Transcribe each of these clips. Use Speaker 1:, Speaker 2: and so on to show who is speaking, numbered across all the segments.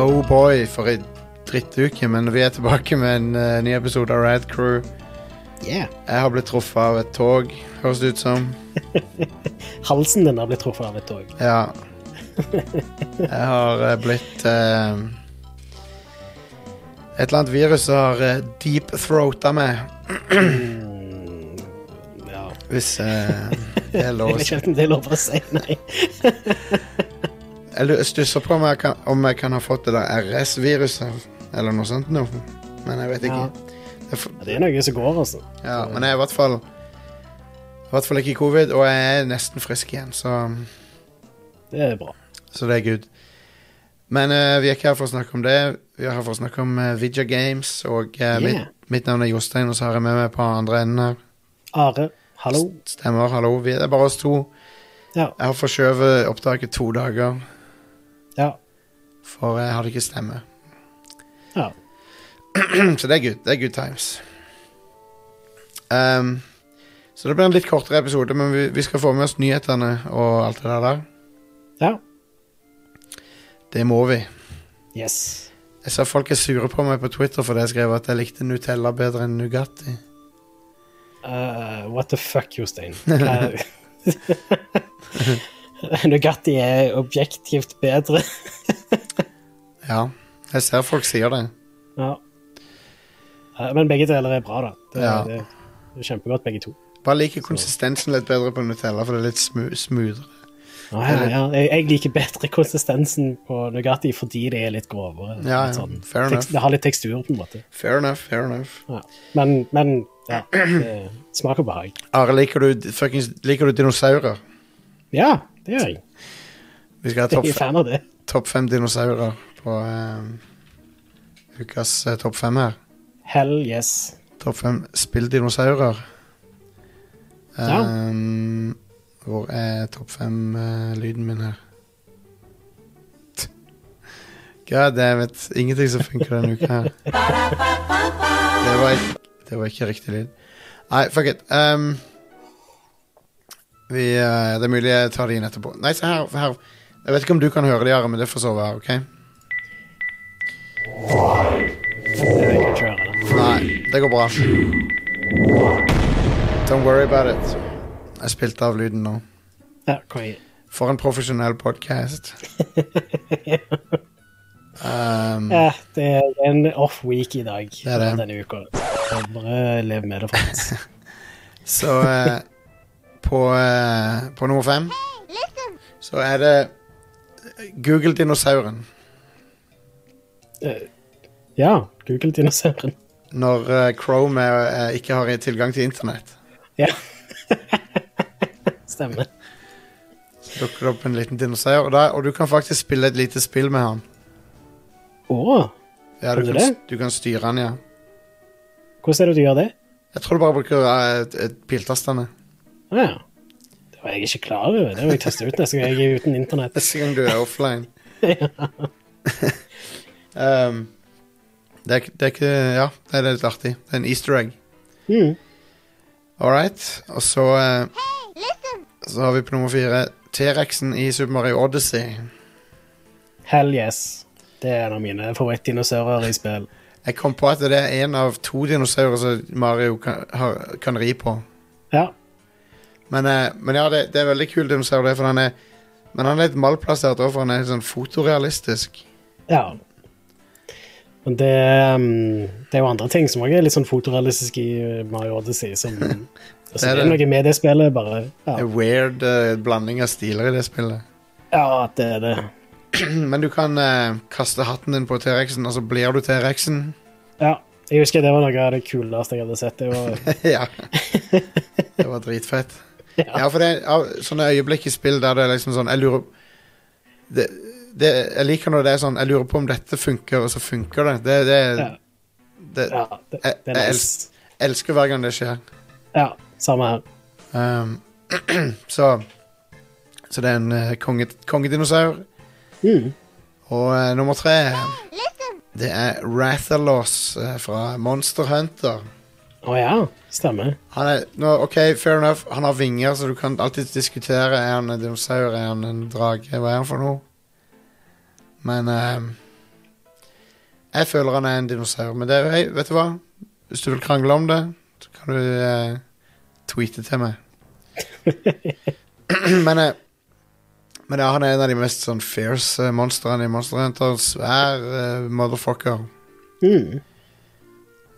Speaker 1: Oh Boy for ei drittuke, men vi er tilbake med en eh, ny episode av Rad Crew.
Speaker 2: Yeah.
Speaker 1: Jeg har blitt truffet av et tog, høres det ut som.
Speaker 2: Halsen din har blitt truffet av et tog.
Speaker 1: Ja. Jeg har eh, blitt eh, Et eller annet virus har eh, deep-throata meg,
Speaker 2: Mm, Ja.
Speaker 1: hvis eh, det er
Speaker 2: Jeg
Speaker 1: lov å
Speaker 2: vet
Speaker 1: si.
Speaker 2: ikke om det er lov å si, nei.
Speaker 1: Jeg lu- stusser på om jeg kan, om jeg kan ha fått det der RS-viruset, eller noe sånt nå. Men jeg vet ikke.
Speaker 2: Ja.
Speaker 1: Det er for-
Speaker 2: Det er noe som går, altså.
Speaker 1: Ja, men jeg er i hvert fall i hvert fall ikke i covid, og jeg er nesten frisk igjen, så,
Speaker 2: Det er bra.
Speaker 1: så det er good. Men eh, vi er ikke her for å snakke om det. Vi er her for å snakke om uh, Vidja Games, og eh,
Speaker 2: Yeah.
Speaker 1: mitt, mitt navn er Jostein, og så har jeg med meg på andre enden her.
Speaker 2: Are, hallo.
Speaker 1: Stemmer, hallo. Vi det er bare oss to.
Speaker 2: Ja.
Speaker 1: Jeg har forskjøvet opptaket to dager,
Speaker 2: Ja.
Speaker 1: for jeg hadde ikke stemme.
Speaker 2: ja.
Speaker 1: så det er good. Det er good times. Ehm, så det blir en litt kortere episode, men vi, vi skal få med oss nyhetene og alt det der der.
Speaker 2: Ja.
Speaker 1: Det må vi.
Speaker 2: Yes.
Speaker 1: Jeg ser folk er sure på meg på Twitter fordi jeg skrev at jeg likte Nutella bedre enn Nugatti.
Speaker 2: Uh, what the fuck, Jostein? Hva- Nugatti er objektivt bedre.
Speaker 1: Ja, jeg ser folk sier det.
Speaker 2: Ja. Eh, Men begge deler er bra, da. Det,
Speaker 1: Ja.
Speaker 2: det, er kjempegodt, begge to.
Speaker 1: Bare liker konsistensen litt bedre på Nutella, for det er litt smu smoothere.
Speaker 2: Ja, ja, ja. Jeg, jeg liker bedre konsistensen på Nugatti fordi det er litt
Speaker 1: Ja,
Speaker 2: grovere. litt
Speaker 1: ja.
Speaker 2: sånn
Speaker 1: Fair
Speaker 2: tekst-
Speaker 1: enough.
Speaker 2: Det har litt tekstur, på en måte.
Speaker 1: Fair enough, fair enough.
Speaker 2: Ja. Men, men ja, det smaker behag.
Speaker 1: Are, liker du, d- fuckings, liker du dinosaurer?
Speaker 2: Ja, det gjør jeg.
Speaker 1: Vi skal ha topp
Speaker 2: Jeg er
Speaker 1: fe-
Speaker 2: fan av det.
Speaker 1: topp fem dinosaurer på eh, ukas eh, topp fem her.
Speaker 2: Hell yes.
Speaker 1: Topp fem spilldinosaurer.
Speaker 2: Ja.
Speaker 1: Ehm, Hvor er topp fem-lyden min her? God damn it. Ingenting som funker denne uka her. Det var, ikke- det var ikke riktig lyd. Nei, fuck it. Ehm, vi, eh, det er mulig jeg tar det inn etterpå. Nei, se her. her. Jeg vet ikke om du kan høre det, Are, men det får så være. ok?
Speaker 2: Det vil jeg ikke høre. da.
Speaker 1: Nei, det går bra. Don't worry about it. Jeg spilte av lyden nå.
Speaker 2: Ja, konge.
Speaker 1: For en profesjonell podkast. um,
Speaker 2: Ja, det er en off week i dag
Speaker 1: er det.
Speaker 2: denne uka. Så Bare lev med det, folkens.
Speaker 1: så eh, på, eh, på nummer fem så er det Google dinosauren.
Speaker 2: Eh, Ja, Google-dinosauren.
Speaker 1: Når eh, Chrome eh, ikke har tilgang til internett,
Speaker 2: Ja. Stemmer.
Speaker 1: så dukker det opp en liten dinosaur. Og, da, og du kan faktisk spille et lite spill med han.
Speaker 2: Å,
Speaker 1: Ja, du,
Speaker 2: Kan du
Speaker 1: kan,
Speaker 2: det?
Speaker 1: du kan styre han, ja.
Speaker 2: hvordan er det du gjør det?
Speaker 1: Jeg tror du bare bruker eh, piltastene.
Speaker 2: Å Ja. Det var jeg ikke klar over. Det må jeg teste ut neste gang jeg er uten internett.
Speaker 1: Neste gang du er offline. um, det, er, ikke- det er ikke Ja, det er litt artig. Det er en easter egg.
Speaker 2: Mm.
Speaker 1: All right. Og så eh, Så har vi på nummer fire T-rexen i Super Mario Odyssey.
Speaker 2: Hell yes. Det er en av mine favorittdinosaurer i spill.
Speaker 1: Jeg kom på at det er én av to dinosaurer som Mario kan, har, kan ri på.
Speaker 2: Ja.
Speaker 1: Men, eh, men ja, det, det er veldig kul dinosaur, det, for han er Men han er litt malplassert òg, for han er sånn fotorealistisk.
Speaker 2: ja. Men det, um, det er jo andre ting som også er litt sånn fotorealistisk i uh, Mario Odyssey. Som, altså, det
Speaker 1: det.
Speaker 2: er noe med det spillet, bare. Ja,
Speaker 1: Det er Weird eh, blanding av stiler i det spillet.
Speaker 2: ja det er det.
Speaker 1: Men du kan eh, kaste hatten din på T-rexen, og så blir du T-rexen.
Speaker 2: Ja. Jeg husker det var noe av det kuleste jeg hadde sett. Det var,
Speaker 1: ja. Det var dritfett. Ja, for det er av- sånne øyeblikk i spill der det er liksom sånn Jeg lurer det, det, Jeg liker når det er sånn Jeg lurer på om dette funker, og så funker det. Det, det,
Speaker 2: Ja.
Speaker 1: det
Speaker 2: ja, det,
Speaker 1: Jeg-
Speaker 2: det er
Speaker 1: jeg
Speaker 2: nice.
Speaker 1: jeg elsker hver gang det skjer.
Speaker 2: Ja, samme her.
Speaker 1: Um, så Så det er en eh, konge, kongedinosaur.
Speaker 2: Mm.
Speaker 1: Og eh, nummer tre Det er Rathalos eh, fra Monster Hunter.
Speaker 2: Å ja, stemmer.
Speaker 1: Han er, nå, ok, fair enough Han har vinger, så du kan alltid diskutere Er han en dinosaur, er han en drage Hva er han for noe Men eh, Jeg føler han er en dinosaur, men det, er- hei, vet du hva? Hvis du vil krangle om det, så kan du eh, tweete til meg. men, eh, men ja, han er en av de mest sånn fierce eh, monstrene i Monster Hunter. Svær eh, motherfucker.
Speaker 2: Mm.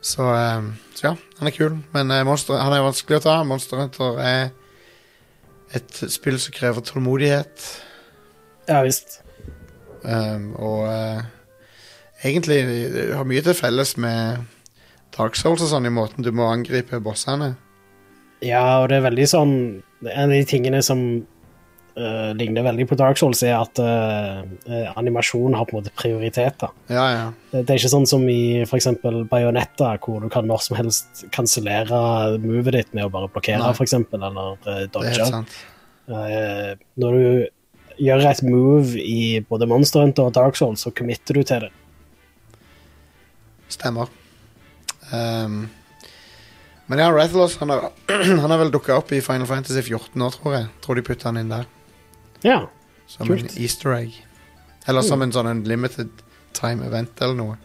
Speaker 1: Så, eh, så ja, han er kul. Men eh, Monster, han er vanskelig å ta. Monster Hunter er et spill som krever tålmodighet.
Speaker 2: Ja visst.
Speaker 1: Um, og eh, egentlig det har mye til felles med Dark Souls og sånn i måten du må angripe bossene.
Speaker 2: Ja, og det er veldig sånn En av de tingene som eh, ligner veldig på Dark Souls, er at eh, eh, animasjon har på en måte prioritet. da.
Speaker 1: Ja, ja.
Speaker 2: Det det er ikke sånn som i f.eks. Bajonetta, hvor du kan når som helst kansellere movet ditt med å bare blokkere,
Speaker 1: Nei.
Speaker 2: f.eks., eller uh,
Speaker 1: Det er helt
Speaker 2: dodge.
Speaker 1: sant.
Speaker 2: Eh, når du gjør et move i både Monster Hunter og Dark Souls, så committer du til det.
Speaker 1: Stemmer. Um, men ja, Rathalos han har, han har vel dukka opp i Final Fantasy 14 nå, tror jeg. Tror de putta han inn der.
Speaker 2: Ja.
Speaker 1: Som
Speaker 2: Kult.
Speaker 1: en easter egg. Eller som en sånn en limited time event eller noe.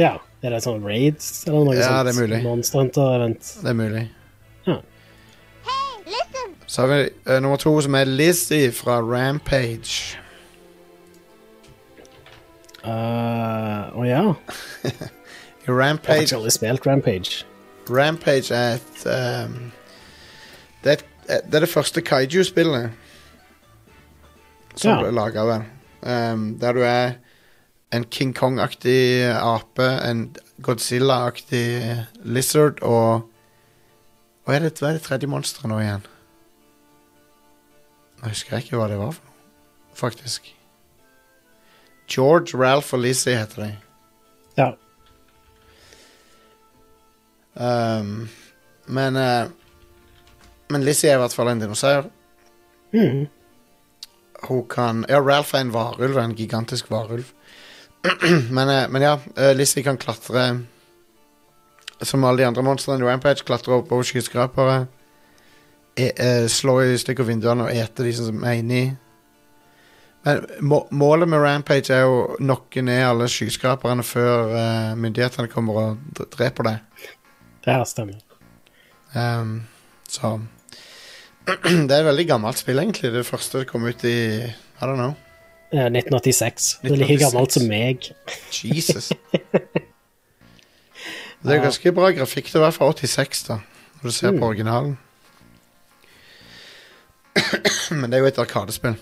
Speaker 2: ja. Er det sånn raids eller noe
Speaker 1: Ja,
Speaker 2: sånt?
Speaker 1: det er mulig.
Speaker 2: Monster Hunter-event.
Speaker 1: Det er mulig.
Speaker 2: Ja.
Speaker 1: Så har vi eh, nummer to, som er Lizzie fra Rampage.
Speaker 2: Eh, og ja.
Speaker 1: I
Speaker 2: Jeg har
Speaker 1: Rampage
Speaker 2: faktisk aldri spilt Rampage.
Speaker 1: Rampage er et ehm, det, er et, det er det første kaiju-spillet som
Speaker 2: Ja.
Speaker 1: ble laga av den. Ehm, der du er en King Kong-aktig ape, en Godzilla-aktig lizard og hva er, det, hva er det tredje monsteret nå igjen? Nå husker jeg ikke hva det var for noe, faktisk. George, Ralph og Lizzie heter de.
Speaker 2: Ja.
Speaker 1: Ehm, men eh, Men Lizzie er i hvert fall en dinosaur.
Speaker 2: Mhm.
Speaker 1: Hun kan Ja, Ralph er en varulv. En gigantisk varulv. men, eh, men ja, eh, Lizzie kan klatre Som alle de andre monstrene i Rampage, klatre opp over skyskrapere. E eh, slå i stykker vinduene og ete de som er inni. Men må målet med Rampage er å nokke ned alle skyskraperne før eh, myndighetene kommer og dre- dreper deg.
Speaker 2: Det her stemmer.
Speaker 1: Ehm, så Det er et veldig gammelt spill, egentlig. Det første det kom ut i I don't know.
Speaker 2: Eh, 1986. Det er like
Speaker 1: 1986.
Speaker 2: gammelt som meg.
Speaker 1: Jesus. Det er ganske bra grafikk til å være fra 86, da, når du ser
Speaker 2: Mm.
Speaker 1: på originalen. Men det er jo et arkadespill,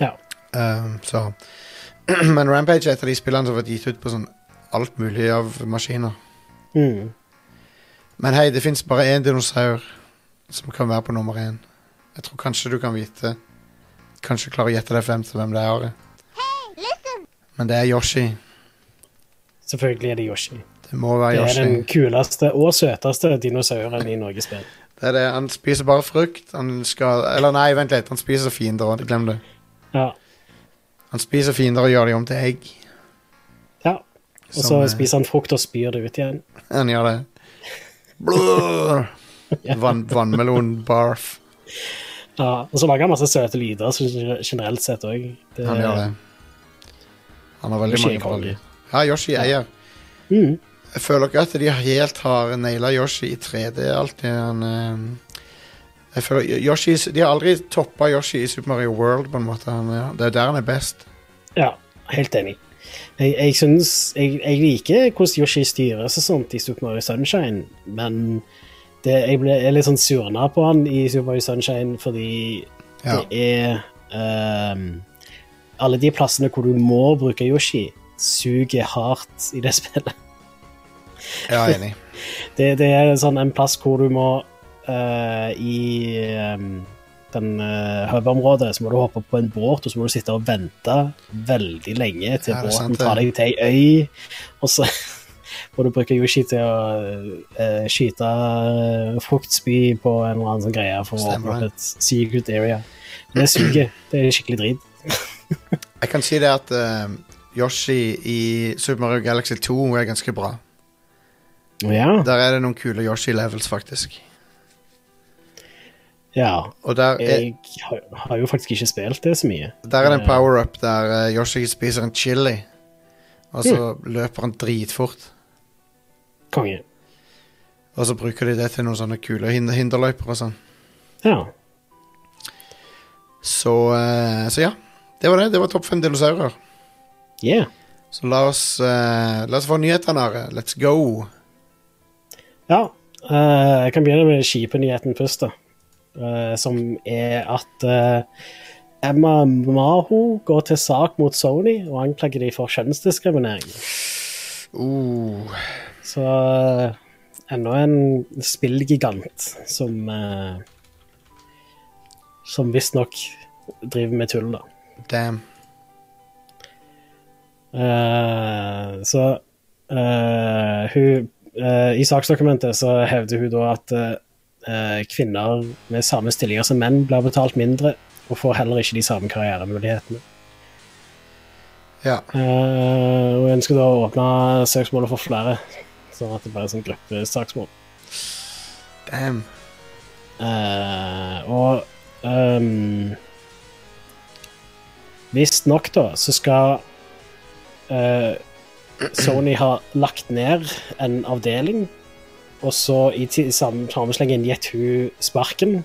Speaker 2: Ja.
Speaker 1: Ehm, så Men Rampage er et av de spillene som har vært gitt ut på sånn alt mulig av maskiner.
Speaker 2: Mm.
Speaker 1: Men hei, det fins bare én dinosaur som kan være på nummer én. Jeg tror kanskje du kan vite Kanskje klare å gjette deg frem til hvem det er. Are. Men det er Yoshi.
Speaker 2: Selvfølgelig er det Yoshi.
Speaker 1: Det må være
Speaker 2: Det er
Speaker 1: Yoshi.
Speaker 2: den kuleste og søteste dinosauren i Norges spill.
Speaker 1: Det er det. Han spiser bare frukt. Han skal Eller nei, vent litt. Han spiser fiender òg. Glem det.
Speaker 2: Ja.
Speaker 1: Han spiser fiender og gjør dem om til egg.
Speaker 2: ja. Og så
Speaker 1: Som, eh,
Speaker 2: spiser han frukt og spyr det ut igjen.
Speaker 1: Han gjør det. Blur. Vann, vannmelon barf.
Speaker 2: Ja. Og så lager han masse søte lyder så generelt sett òg.
Speaker 1: Han gjør det. Han har veldig
Speaker 2: Yoshi er
Speaker 1: mange bra
Speaker 2: konge.
Speaker 1: lyd. Ja, Yoshi eier.
Speaker 2: Mm.
Speaker 1: Jeg føler ikke at de helt har naila Yoshi i 3D alltid. Han, eh, jeg føler Yoshi, De har aldri toppa Yoshi i Super Mario World, på en måte. Han, er- det er der han er best.
Speaker 2: Ja, helt enig. Jeg, jeg synes, jeg, jeg liker hvordan Yoshi styres og sånt i Super Mario Sunshine, men det, jeg ble jeg er litt sånn surna på han i Super Mario Sunshine fordi
Speaker 1: Ja.
Speaker 2: det er ehm, Alle de plassene hvor du må bruke Yoshi, suger hardt i det spillet.
Speaker 1: Jeg er enig.
Speaker 2: Det, det er sånn en plass hvor du må eh, I ehm, den eh, hub-området så må du hoppe på en båt, og så må du sitte og vente veldig lenge til
Speaker 1: Ja, det er sant,
Speaker 2: båten
Speaker 1: det.
Speaker 2: tar deg til ei øy. Og så må du bruke Yoshi til å eh, skyte eh, fruktspy på en eller annen sånn greie for å
Speaker 1: Stemmer
Speaker 2: åpne
Speaker 1: det.
Speaker 2: opp et secret area. Men det suger. Det er skikkelig drit.
Speaker 1: Jeg kan si det at eh, Yoshi i Super Mario Galaxy 2 er ganske bra.
Speaker 2: Ja.
Speaker 1: Der er det noen kule Yoshi-levels, faktisk.
Speaker 2: ja.
Speaker 1: Og der er,
Speaker 2: Jeg har, har jo faktisk ikke spilt det så mye.
Speaker 1: der er det en power-up der eh, Yoshi spiser en chili. Og så løper han dritfort.
Speaker 2: Konge.
Speaker 1: Og så bruker de det til noen sånne kule hinder hinderløyper og sånn.
Speaker 2: Ja.
Speaker 1: Så, eh, så ja. Det var det. Det var topp fem dinosaurer.
Speaker 2: Yeah.
Speaker 1: Så la oss, eh, la oss få nyhetene, Are. Let's go.
Speaker 2: Ja, eh, jeg kan begynne med skipenyheten først, da. Eh, som er at eh, Emma Maho går til sak mot Sony og anklager de for kjønnsdiskriminering.
Speaker 1: Uh,
Speaker 2: Så eh, enda en spillgigant som uh, Som visstnok driver med tull, da.
Speaker 1: damn.
Speaker 2: Eh, så eh, hun eh, I saksdokumentet så hevder hun da at eh, eh, kvinner med samme stillinger som menn blir betalt mindre og får heller ikke de samme karrieremulighetene.
Speaker 1: Ja.
Speaker 2: Eh, og jeg ønsker da å åpne søksmålet for flere, sånn at det blir en sånn gruppesaksmål.
Speaker 1: Damn.
Speaker 2: Eh, og um, Visstnok, da, så skal eh, Sony ha lagt ned en avdeling, og så i ti- sam- samme slengen gitt hun sparken.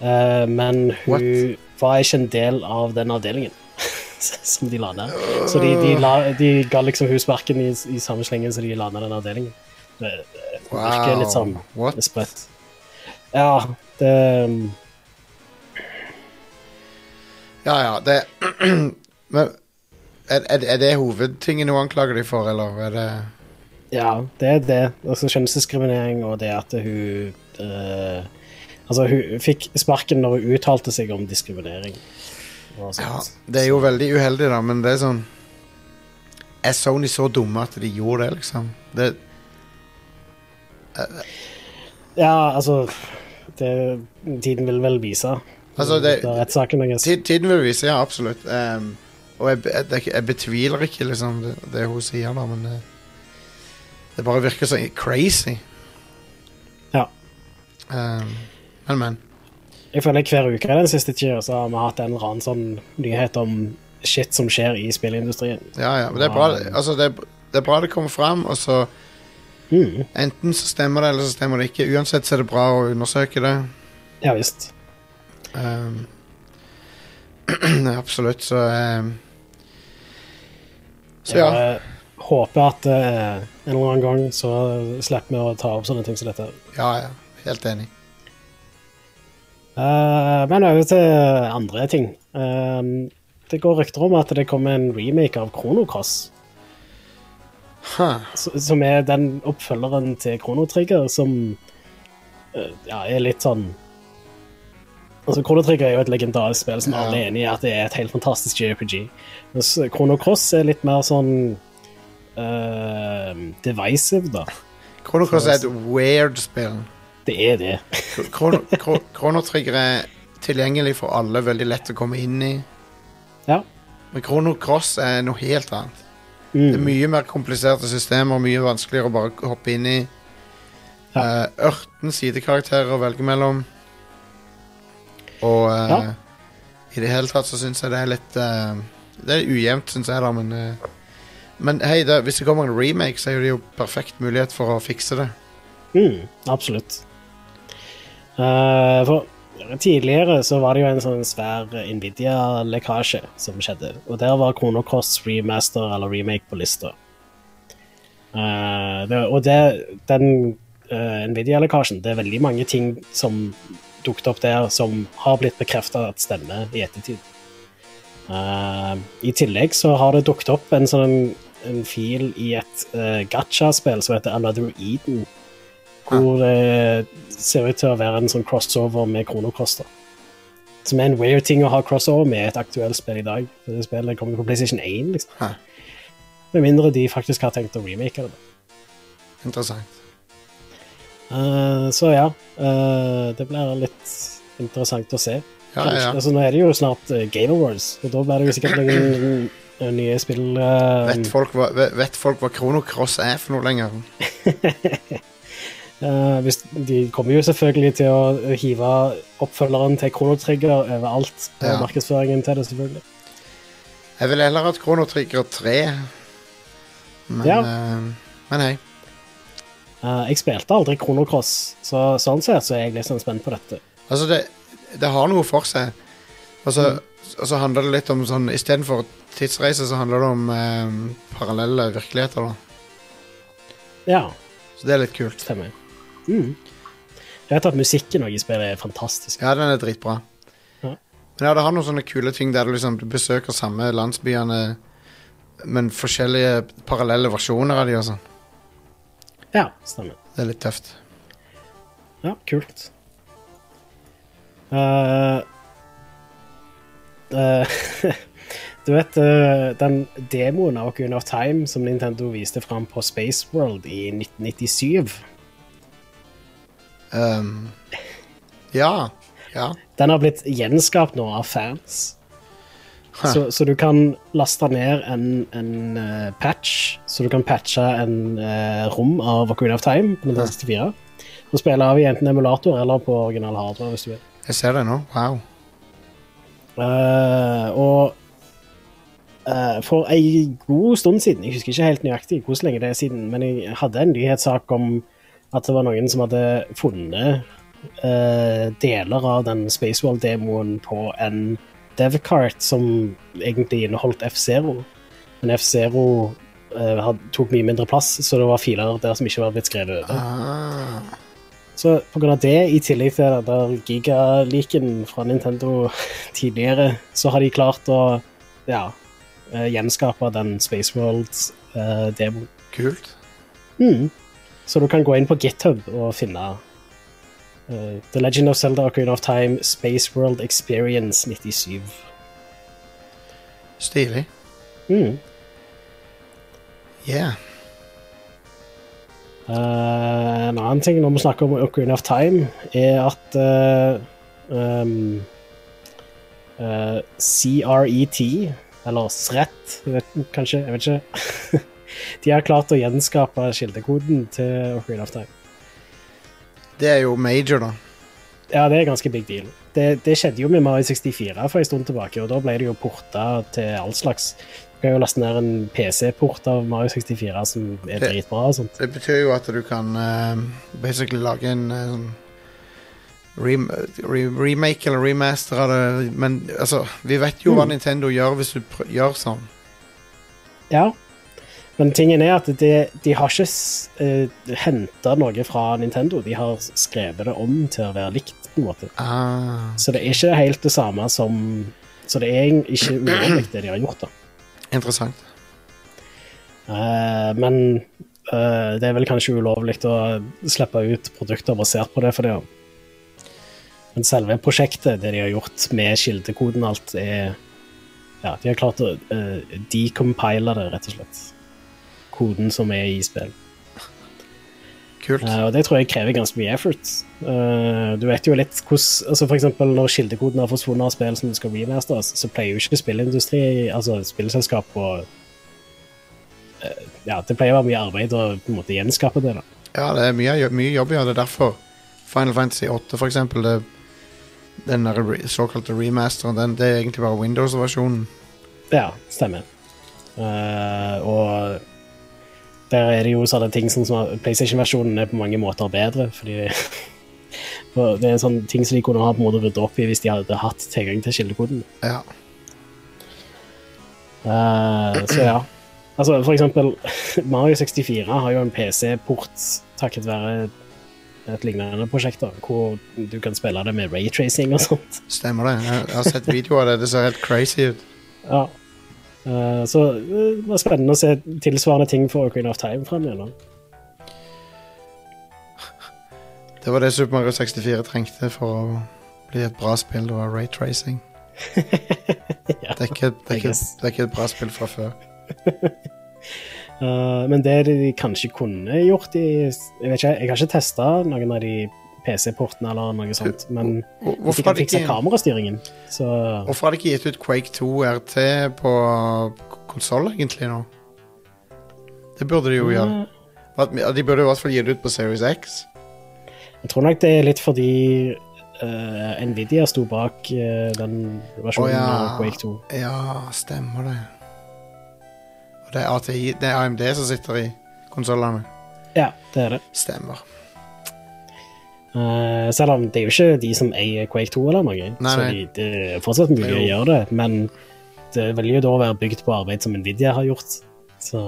Speaker 2: Eh, men hun
Speaker 1: What?
Speaker 2: var ikke en del av den avdelingen som de la ned. Så de, de, la, de ga liksom hun sparken i, i samme slengen som de la ned den avdelingen. Det, det virker litt sånn
Speaker 1: What?
Speaker 2: Spredt. Ja, det
Speaker 1: Ja, ja, det Men er, er, er det hovedtingen hun anklager de for, eller er det
Speaker 2: Ja, det er det. Altså kjønnsdiskriminering og det at hun eh, Altså, hun fikk sparken når hun uttalte seg om diskriminering. Og
Speaker 1: Ja,
Speaker 2: sånt.
Speaker 1: det er jo veldig uheldig, da, men det er sånn Er Sony så dumme at de gjorde det, liksom? Det,
Speaker 2: ja, altså det, Tiden vil vel vise.
Speaker 1: Altså, det-
Speaker 2: Da rettssaken er
Speaker 1: ti- tiden vil vise, ja, absolutt. Ehm, og jeg, be- jeg, jeg betviler ikke liksom det, det hun sier, da, men det, det bare virker så crazy.
Speaker 2: Ja.
Speaker 1: Ehm, men, men.
Speaker 2: Jeg føler hver uke den siste tida så har vi hatt en eller annen sånn nyhet om shit som skjer i spillindustrien.
Speaker 1: Ja, ja. Men det er bra,
Speaker 2: Wow.
Speaker 1: altså, det, er- det er bra det kommer fram, og så
Speaker 2: Mm.
Speaker 1: Enten så stemmer det, eller så stemmer det ikke. Uansett så er det bra å undersøke det.
Speaker 2: Ja visst.
Speaker 1: Ehm, absolutt, så ehm, Så ja.
Speaker 2: Jeg håper at eh, en eller annen gang så slipper vi å ta opp sånne ting som dette.
Speaker 1: Ja, ja. Helt enig.
Speaker 2: Eh, men over til andre ting. Eh, det går rykter om at det kommer en remake av Chrono Cross,
Speaker 1: Huh.
Speaker 2: s- som er den oppfølgeren til Chrono Trigger, som eh, ja, er litt sånn Altså, Chrono Trigger er jo et legendarisk spill som
Speaker 1: Ja.
Speaker 2: alle er enig i at det er et helt fantastisk JRPG. Mens Chrono Cross er litt mer sånn eh, divisive, da.
Speaker 1: Chrono Cross er et weird spill.
Speaker 2: Det er det.
Speaker 1: Chro- Chrono- Chro- Chrono Trigger er tilgjengelig for alle, veldig lett å komme inn i.
Speaker 2: Ja.
Speaker 1: Men Chrono Cross er noe helt annet. Det er
Speaker 2: Mm.
Speaker 1: mye mer kompliserte systemer, mye vanskeligere å bare hoppe inn i.
Speaker 2: Ja.
Speaker 1: Eh, ørten sidekarakterer å velge mellom. Og eh,
Speaker 2: Ja.
Speaker 1: i det hele tatt så syns jeg det er litt eh, Det er ujevnt, syns jeg, da, men eh, Men hei, det, hvis det kommer en remake, så er jo det jo perfekt mulighet for å fikse det.
Speaker 2: Mm, absolutt. Eh, for tidligere så var det jo en sånn svær Nvidia-lekkasje som skjedde, og der var Chrono Cross remaster eller remake på lista. Eh, det, og det, den eh, Nvidia-lekkasjen, det er veldig mange ting som dukket opp der som har blitt bekrefta at stemmer i ettertid. Eh, I tillegg så har det dukket opp en sånn en fil i et uh, gacha-spill som heter Another Eden, hvor det ser ut til å være en sånn crossover med Kronokoster. Som er en weird ting å ha crossover med et aktuelt spill i dag. For det spillet kommer på PlayStation 1, liksom.
Speaker 1: Hæ.
Speaker 2: Med mindre de faktisk har tenkt å remake det.
Speaker 1: Interessant.
Speaker 2: Eh, så ja, eh, det blir litt interessant å se.
Speaker 1: Ja, ja, ja.
Speaker 2: Altså, nå er det jo snart eh, Game Awards, og da blir det jo sikkert noen eh, nye spill eh,
Speaker 1: Vet folk, hva, vet- vet folk hva Chrono Cross er for noe lenger?
Speaker 2: Eh, hvis, De kommer jo selvfølgelig til å hive oppfølgeren til Chrono Trigger eh, overalt. på
Speaker 1: Ja.
Speaker 2: markedsføringen til det, selvfølgelig.
Speaker 1: Jeg ville heller hatt Chrono Trigger 3. Men,
Speaker 2: Ja.
Speaker 1: eh, men hei.
Speaker 2: Eh, jeg spilte aldri Chrono Cross, så sånn sett så er jeg litt sånn spent på dette.
Speaker 1: Altså, det, det har noe for seg. Og så,
Speaker 2: Mm.
Speaker 1: og så handler det litt om sånn Istedenfor tidsreise, så handler det om eh, parallelle virkeligheter, da.
Speaker 2: Ja,
Speaker 1: Så det er litt kult.
Speaker 2: stemmer. Mm. Jeg vet at musikken også i spillet er fantastisk.
Speaker 1: Ja, den er dritbra.
Speaker 2: Ja.
Speaker 1: Men ja, det har noen sånne kule ting der du liksom du besøker samme landsbyene, men forskjellige parallelle versjoner av de og sånn.
Speaker 2: Ja, stemmer.
Speaker 1: Det er litt tøft.
Speaker 2: Ja, kult. Eh, eh, du vet eh, den demoen av Ocarina of Time som Nintendo viste fram på Space World i 1997?
Speaker 1: Ehm, ja. Ja.
Speaker 2: Den har blitt gjenskapt nå av fans.
Speaker 1: Huh.
Speaker 2: Så, så du kan laste ned en, en eh, patch, så du kan patche en eh, rom av Ocarina of Time på Nintendo 64. Og spille av i enten emulator eller på original hardware hvis du vil.
Speaker 1: Jeg ser det nå. Wow.
Speaker 2: Eh, og eh, for ei god stund siden, jeg husker ikke helt nøyaktig hvor lenge det er siden, men jeg hadde en nyhetssak om at det var noen som hadde funnet eh, deler av den Spacewall-demoen på en devcart som egentlig inneholdt F-Zero. Men F-Zero eh, had- tok mye mindre plass, så det var filer der som ikke var blitt skrevet over.
Speaker 1: Ah.
Speaker 2: Så på grunn av det, i tillegg til den der gigaliken fra Nintendo tidligere, så har de klart å ja, eh, gjenskape den Space World-demoen.
Speaker 1: Kult.
Speaker 2: mm. Så du kan gå inn på GitHub og finne eh, The Legend of Zelda Ocarina of Time Space World Experience 97.
Speaker 1: Stilig.
Speaker 2: Mm.
Speaker 1: Yeah.
Speaker 2: Eh, en annen ting når vi snakker om Ocarina of Time, er at eh, um, eh, CRET, eller SRET, jeg vet, kanskje, jeg vet ikke De har klart å gjenskape kildekoden til Ocarina of Time.
Speaker 1: Det er jo major, da.
Speaker 2: Ja, det er ganske big deal. Det, det skjedde jo med Mario 64 for en stund tilbake, og da ble det jo porta til all slags. Du kan jo laste ned en PC-port av Mario 64 som er
Speaker 1: Det-
Speaker 2: dritbra og sånt.
Speaker 1: Det betyr jo at du kan eh, basically lage en eh, sånn rem re remake eller remaster av det, men altså Vi vet jo hva
Speaker 2: Mm.
Speaker 1: Nintendo gjør hvis du pr gjør sånn.
Speaker 2: Ja. Men tingen er at de, de har ikke uh, henta noe fra Nintendo. De har skrevet det om til å være likt, på en måte.
Speaker 1: Ah.
Speaker 2: Så det er ikke helt det samme som Så det er egentlig ikke ulovlig, det de har gjort, da.
Speaker 1: Interessant.
Speaker 2: Eh, men eh, det er vel kanskje ulovlig å slippe ut produkter basert på det for det òg. Men selve prosjektet, det de har gjort med kildekoden og alt, er Ja, de har klart å uh, decompile det, rett og slett. Koden som er i spill.
Speaker 1: Kult.
Speaker 2: Eh, og det tror jeg krever ganske mye effort. Eh, du vet jo litt hvordan altså For eksempel når kildekoden har forsvunnet av spill som skal remasteres, så pleier jo ikke spillindustri, altså spillselskap og eh, Ja, det pleier å være mye arbeid å på en måte gjenskape det, da.
Speaker 1: Ja, det er mye, jo- mye jobb i ja, det. er Derfor Final Fantasy 8, for eksempel. Det, den der re såkalte remasteren, den, det er egentlig bare Windows-versjonen.
Speaker 2: Ja, stemmer. Eh, og der er det jo sånne ting som som- PlayStation-versjonen er på mange måter bedre, fordi for det er sånne ting som de kunne ha på en måte ryddet opp i hvis de hadde hatt tilgang til kildekoden.
Speaker 1: Ja.
Speaker 2: Eh, så ja. Altså, for eksempel, Mario 64 har jo en PC-port takket være et lignende prosjekt, da, hvor du kan spille det med raytracing og sånt.
Speaker 1: Stemmer det. Jeg, jeg har sett videoer av det. Det ser helt crazy ut.
Speaker 2: Ja. Eh, så eh, det var spennende å se tilsvarende ting for Ocarina of Time frem igjennom.
Speaker 1: Det var det Super Mario 64 trengte for å bli et bra spill. Det var raytracing.
Speaker 2: Ja,
Speaker 1: Det er ikke, det er
Speaker 2: I
Speaker 1: ikke,
Speaker 2: guess.
Speaker 1: det er ikke et bra spill fra før.
Speaker 2: Eh, men det de kanskje kunne gjort i Jeg vet ikke, jeg har ikke testa noen av de PC-portene eller noe sånt, men
Speaker 1: Hvor-
Speaker 2: de
Speaker 1: Hvorfor har
Speaker 2: kan
Speaker 1: de
Speaker 2: fikse
Speaker 1: ikke,
Speaker 2: kamerastyringen, så
Speaker 1: hvorfor har de ikke gitt ut Quake 2 RT på konsoll egentlig nå? Det burde de jo gjøre.
Speaker 2: Eh,
Speaker 1: Hva- De burde i hvert fall gi det ut på Series X.
Speaker 2: Jeg tror nok det er litt fordi eh, Nvidia sto bak eh, den
Speaker 1: Å,
Speaker 2: versjonen
Speaker 1: ja.
Speaker 2: av Quake 2.
Speaker 1: Ja, stemmer det. Og Det er ATI, det er AMD som sitter i konsollene.
Speaker 2: Ja, det er det.
Speaker 1: Stemmer.
Speaker 2: Eh, selv om det er jo ikke de som eier Quake 2 eller noe,
Speaker 1: Nei,
Speaker 2: så
Speaker 1: nei.
Speaker 2: de, det er fortsatt mulig
Speaker 1: Det er
Speaker 2: å
Speaker 1: jo-
Speaker 2: gjøre det, men det vil jo da være bygd på arbeid som Nvidia har gjort, så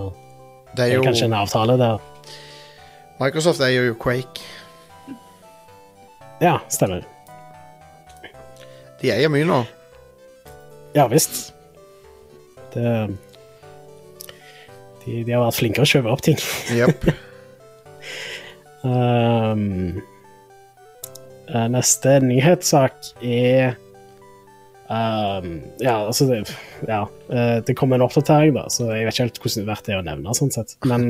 Speaker 1: Det
Speaker 2: det
Speaker 1: er
Speaker 2: er kanskje
Speaker 1: jo,
Speaker 2: en avtale der.
Speaker 1: Microsoft eier jo Quake.
Speaker 2: Ja, stemmer.
Speaker 1: De eier mye nå.
Speaker 2: Ja visst. Det de, de har vært flinkere å kjøpe opp ting.
Speaker 1: Jepp.
Speaker 2: Ehm, eh, neste nyhetssak er ehm, Ja, altså det, ja, eh, det kom en oppdatering, da, så jeg vet ikke helt hvordan det er verdt det å nevne. sånn sett. Men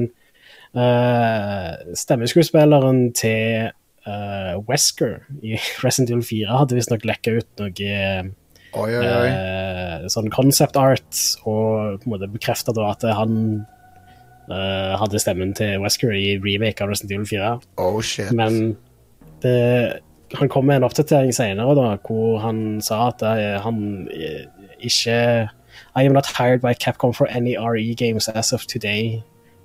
Speaker 2: eh, stemmeskuespilleren til eh, Wesker i Resident Evil 4 hadde visstnok lekka ut noe
Speaker 1: Oi, oi, oi.
Speaker 2: eh, sånn concept art, og på en måte bekrefta at han eh, hadde stemmen til Wesker i remake av Resident Evil 4.
Speaker 1: Oh shit.
Speaker 2: Men det, han kom med en oppdatering senere da, hvor han sa at eh, han eh, ikke I am not hired by Capcom for any RE games as of today.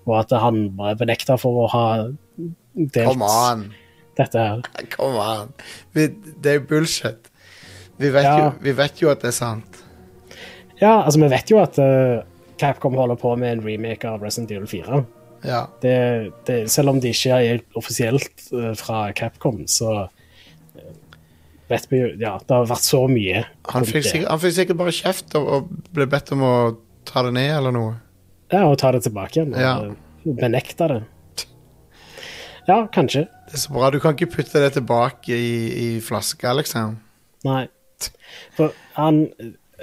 Speaker 2: Og at han bare benekta for å ha
Speaker 1: Come
Speaker 2: delt
Speaker 1: on.
Speaker 2: dette her.
Speaker 1: Come on. Vi, det er bullshit. Vi vet,
Speaker 2: Ja.
Speaker 1: jo, vi vet jo at det er sant.
Speaker 2: Ja, altså, vi vet jo at eh, Capcom holder på med en remake av Resident Evil 4.
Speaker 1: Ja.
Speaker 2: Det, det, selv om det ikke er offisielt eh, fra Capcom, så eh, vet vi jo Ja, det har vært så mye.
Speaker 1: Han
Speaker 2: rundt
Speaker 1: fikk
Speaker 2: det.
Speaker 1: sikkert, han fikk sikkert bare kjeft og, og ble bedt om å ta det ned eller noe.
Speaker 2: Ja, og ta det tilbake igjen. Og eh,
Speaker 1: Ja.
Speaker 2: Benekte det. Ja, kanskje.
Speaker 1: Det er så bra. Du kan ikke putte det tilbake i, i flaska, liksom.
Speaker 2: Nei. For han,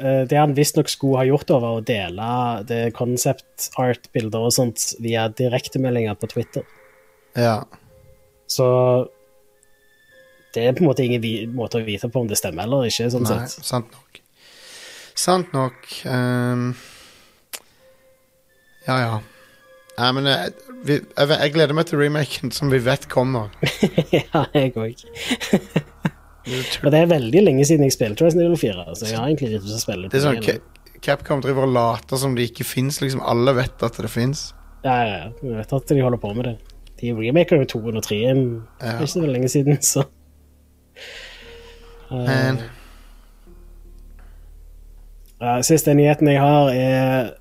Speaker 2: eh, det han visstnok skulle ha gjort, da, var å dele det concept art-bilder og sånt via direktemeldinger på Twitter.
Speaker 1: Ja.
Speaker 2: Så det er på en måte ingen vi måte å vite på om det stemmer eller ikke. sånn
Speaker 1: Nei,
Speaker 2: sett.
Speaker 1: sant nok. Sant nok. ehm. ja, ja. Nei, men jeg, vi, jeg, jeg gleder meg til remaken som vi vet kommer.
Speaker 2: ja, jeg òg.
Speaker 1: Det er
Speaker 2: Og det er veldig lenge siden jeg spilte Resident Evil 4, så jeg har egentlig lyst til å spille
Speaker 1: Det er sånn,
Speaker 2: igjen.
Speaker 1: Ca- Capcom driver og later som det ikke fins. Liksom, alle vet at det fins.
Speaker 2: Ja, ja, ja. Vi vet at de holder på med det. De remaker jo 203-en
Speaker 1: Ja.
Speaker 2: ikke så veldig lenge siden, så uh,
Speaker 1: Men
Speaker 2: uh, Siste nyheten jeg har, er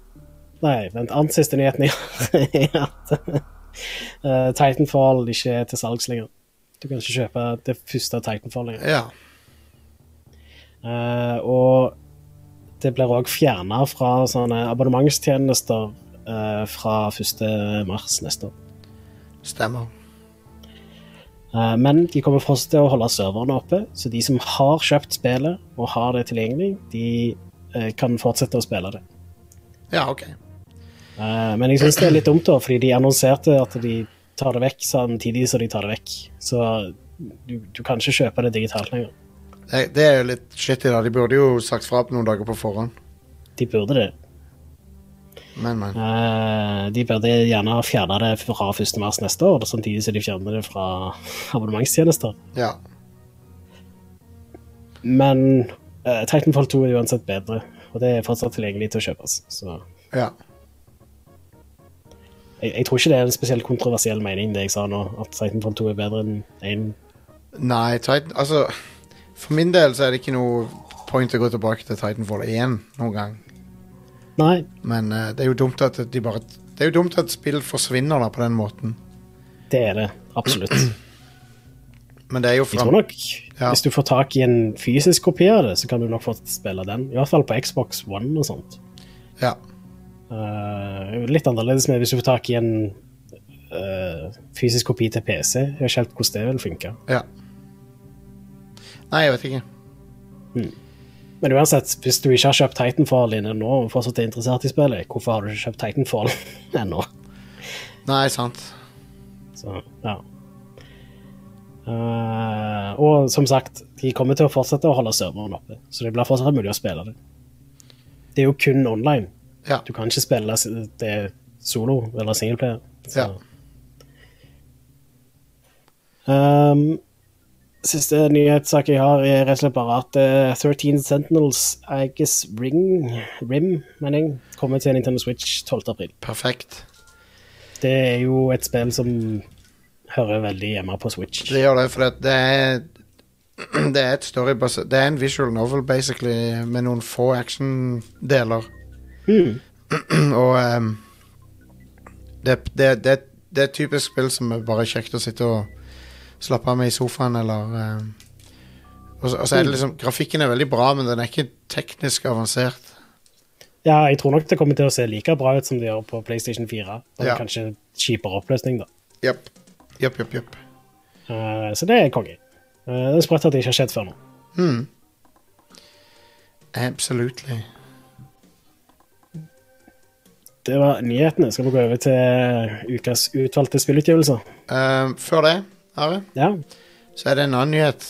Speaker 2: Nei, vent. Annet siste nyheten jeg har, er at uh, Titanfall ikke er til salgs lenger. Du kan ikke kjøpe det første Titanfall lenger.
Speaker 1: ja.
Speaker 2: Eh, og det blir òg fjerna fra sånne abonnementstjenester eh, fra 1. mars neste år.
Speaker 1: Stemmer.
Speaker 2: Eh, Men de kommer fortsatt til å holde serverne oppe, så de som har kjøpt spillet og har det tilgjengelig, de eh, kan fortsette å spille det.
Speaker 1: Ja, OK.
Speaker 2: Eh, Men jeg syns det er litt dumt, da, fordi de annonserte at de tar det vekk samtidig som de tar det vekk. Så du, du kan ikke kjøpe det digitalt lenger.
Speaker 1: Det, det er jo litt shitty, da. De burde jo sagt fra på noen dager på forhånd.
Speaker 2: De burde det.
Speaker 1: Men, men.
Speaker 2: Eh, De burde gjerne fjerne det fra 1. mars neste år, samtidig som de fjerner det fra abonnementstjenester.
Speaker 1: Ja.
Speaker 2: Men eh, Titanfall 2 er uansett bedre, og det er fortsatt tilgjengelig til å kjøpes. Så
Speaker 1: ja.
Speaker 2: jeg, jeg tror ikke det er en spesielt kontroversiell mening, det jeg sa nå, at Titanfall 2 er bedre enn 1.
Speaker 1: Nei, Titan Altså, for min del så er det ikke noe point å gå tilbake til Titanfall 1 noen gang.
Speaker 2: Nei,
Speaker 1: Men eh, det er jo dumt at de bare Det er jo dumt at spill forsvinner da på den måten.
Speaker 2: det er det. Absolutt.
Speaker 1: Men det er jo
Speaker 2: Jeg tror
Speaker 1: fram...
Speaker 2: nok,
Speaker 1: Ja.
Speaker 2: hvis du får tak i en fysisk kopi av det, så kan du nok fortsatt spille den. I hvert fall på Xbox One og sånt.
Speaker 1: Ja.
Speaker 2: Eh, litt annerledes med hvis du får tak i en eh, fysisk kopi til PC. Jeg vet ikke helt hvordan det vil funke.
Speaker 1: ja. Nei, jeg vet ikke.
Speaker 2: Men uansett, hvis du ikke har kjøpt Titanfall inne nå og fortsatt er interessert i spillet, hvorfor har du ikke kjøpt Titanfall ennå?
Speaker 1: Nei, sant.
Speaker 2: Så, ja. Eh, og som sagt, de kommer til å fortsette å holde serveren oppe, så det blir fortsatt mulig å spille det. Det er jo kun online.
Speaker 1: Ja.
Speaker 2: Du kan ikke spille s- det solo eller singleplayer.
Speaker 1: Ja.
Speaker 2: Um, Siste nyhetssak jeg har, er rett og slett bare at eh, 13 Sentinels I guess Ring Rim, mener jeg, kommer til Nintendo Switch 12. april.
Speaker 1: Perfekt.
Speaker 2: Det er jo et spill som hører veldig hjemme på Switch.
Speaker 1: Det gjør det, for det er Det er et storybasert Det er en visual novel, basically, med noen få action-deler.
Speaker 2: Mm.
Speaker 1: Og ehm, det, det, det, det er et typisk spill som er bare kjekt å sitte og slappe av med i sofaen, eller ehm, og, så- og så er det liksom Grafikken er veldig bra, men den er ikke teknisk avansert.
Speaker 2: Ja, jeg tror nok det kommer til å se like bra ut som det gjør på PlayStation 4. Bare
Speaker 1: Ja.
Speaker 2: Kanskje kjipere oppløsning, da.
Speaker 1: Jepp. Jepp, jepp, jepp.
Speaker 2: Eh, så det er konge. Eh, det er sprøtt at det ikke har skjedd før nå.
Speaker 1: Mm. Absolutely.
Speaker 2: Det var nyhetene. Skal vi gå over til eh, ukas utvalgte spillutgivelser?
Speaker 1: Ehm, før det, Are,
Speaker 2: Ja.
Speaker 1: så er det en annen nyhet.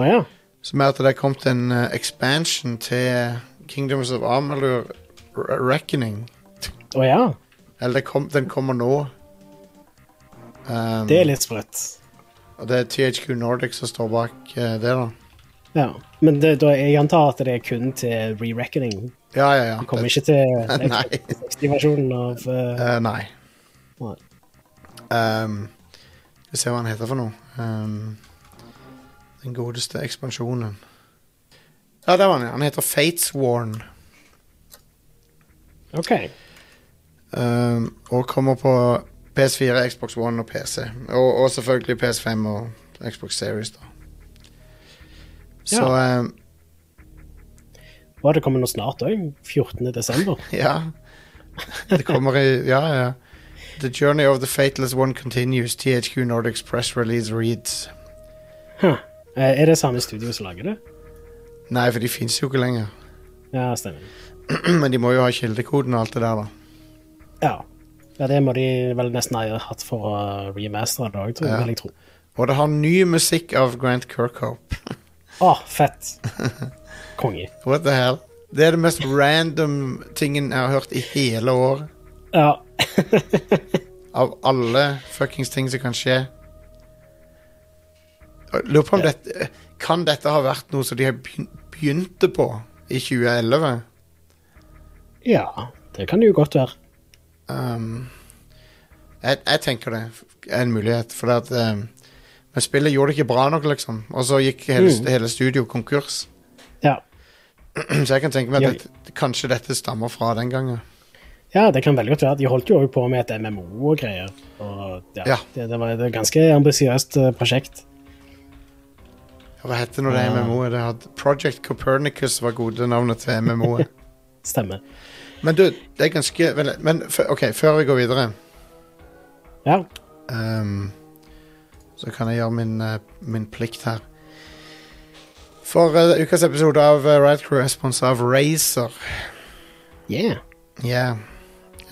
Speaker 2: Å ja.
Speaker 1: Som er at det er kommet en eh, expansion til Kingdoms of Amalur R- Reckoning.
Speaker 2: Å ja.
Speaker 1: Eller det kom, den kommer nå. Um,
Speaker 2: Det er litt sprøtt.
Speaker 1: Og det er THQ Nordic som står bak eh, det, da.
Speaker 2: Ja. Men det, da, jeg antar at det er kun til re-reckoning.
Speaker 1: Ja, ja, ja.
Speaker 2: Det kommer
Speaker 1: Det-
Speaker 2: ikke til
Speaker 1: Nei.
Speaker 2: 60-versjonen av eh,
Speaker 1: eh, nei.
Speaker 2: Nei.
Speaker 1: Um, vi ser hva han heter for noe. Um, den godeste ekspansjonen. Ja, der var han. ja. Han heter Fatesworn.
Speaker 2: OK.
Speaker 1: Um, og kommer på PS4, Xbox One og PC. Og, og selvfølgelig PS5 og Xbox Series, da. Så um,
Speaker 2: Var det kommet noe snart òg? 14.12.?
Speaker 1: ja. Det kommer i Ja, ja. The Journey of the Fateless One Continues. THQ Nordics Press Release Reads.
Speaker 2: Huh. Eh, Er det samme studio som lager det?
Speaker 1: Nei, for de fins jo ikke lenger.
Speaker 2: Ja, stemmer.
Speaker 1: Men de må jo ha kildekoden og alt det der, da.
Speaker 2: Ja. ja det må de vel nesten ha hatt for å remastere det òg, tror jeg.
Speaker 1: Ja.
Speaker 2: vil jeg tro.
Speaker 1: Og det har ny musikk av Grant Kirkhope.
Speaker 2: Å, fett. Konge.
Speaker 1: What the hell? Det er den mest random tingen jeg har hørt i hele år.
Speaker 2: Ja.
Speaker 1: Av alle fuckings ting som kan skje. Jeg Lurer på om
Speaker 2: Ja.
Speaker 1: dette Kan dette ha vært noe som de har begyn- begynte på i 2011?
Speaker 2: ja. Det kan det jo godt være.
Speaker 1: Um, jeg, jeg tenker det er en mulighet, for at um, Men spillet gjorde det ikke bra nok, liksom. Og så gikk hele,
Speaker 2: Mm.
Speaker 1: hele studio konkurs.
Speaker 2: Ja.
Speaker 1: Så jeg kan tenke meg
Speaker 2: Ja.
Speaker 1: at dette, kanskje dette stammer fra den gangen.
Speaker 2: ja, det kan veldig godt være. De holdt jo òg på med et MMO og greier. Og ja,
Speaker 1: Ja.
Speaker 2: Det, det var et ganske ambisiøst eh, prosjekt.
Speaker 1: Hva heter nå det
Speaker 2: Ah.
Speaker 1: MMO-et? Det hadde- Project Copernicus var gode navnet til MMO-et.
Speaker 2: Stemmer.
Speaker 1: men du, det er ganske vel, Men f- OK, før vi går videre
Speaker 2: Ja.
Speaker 1: ehm, Så kan jeg gjøre min, eh, min plikt her. For eh, ukas episode av uh, Rad Crew er sponsa av Razer.
Speaker 2: Yeah.
Speaker 1: Ja.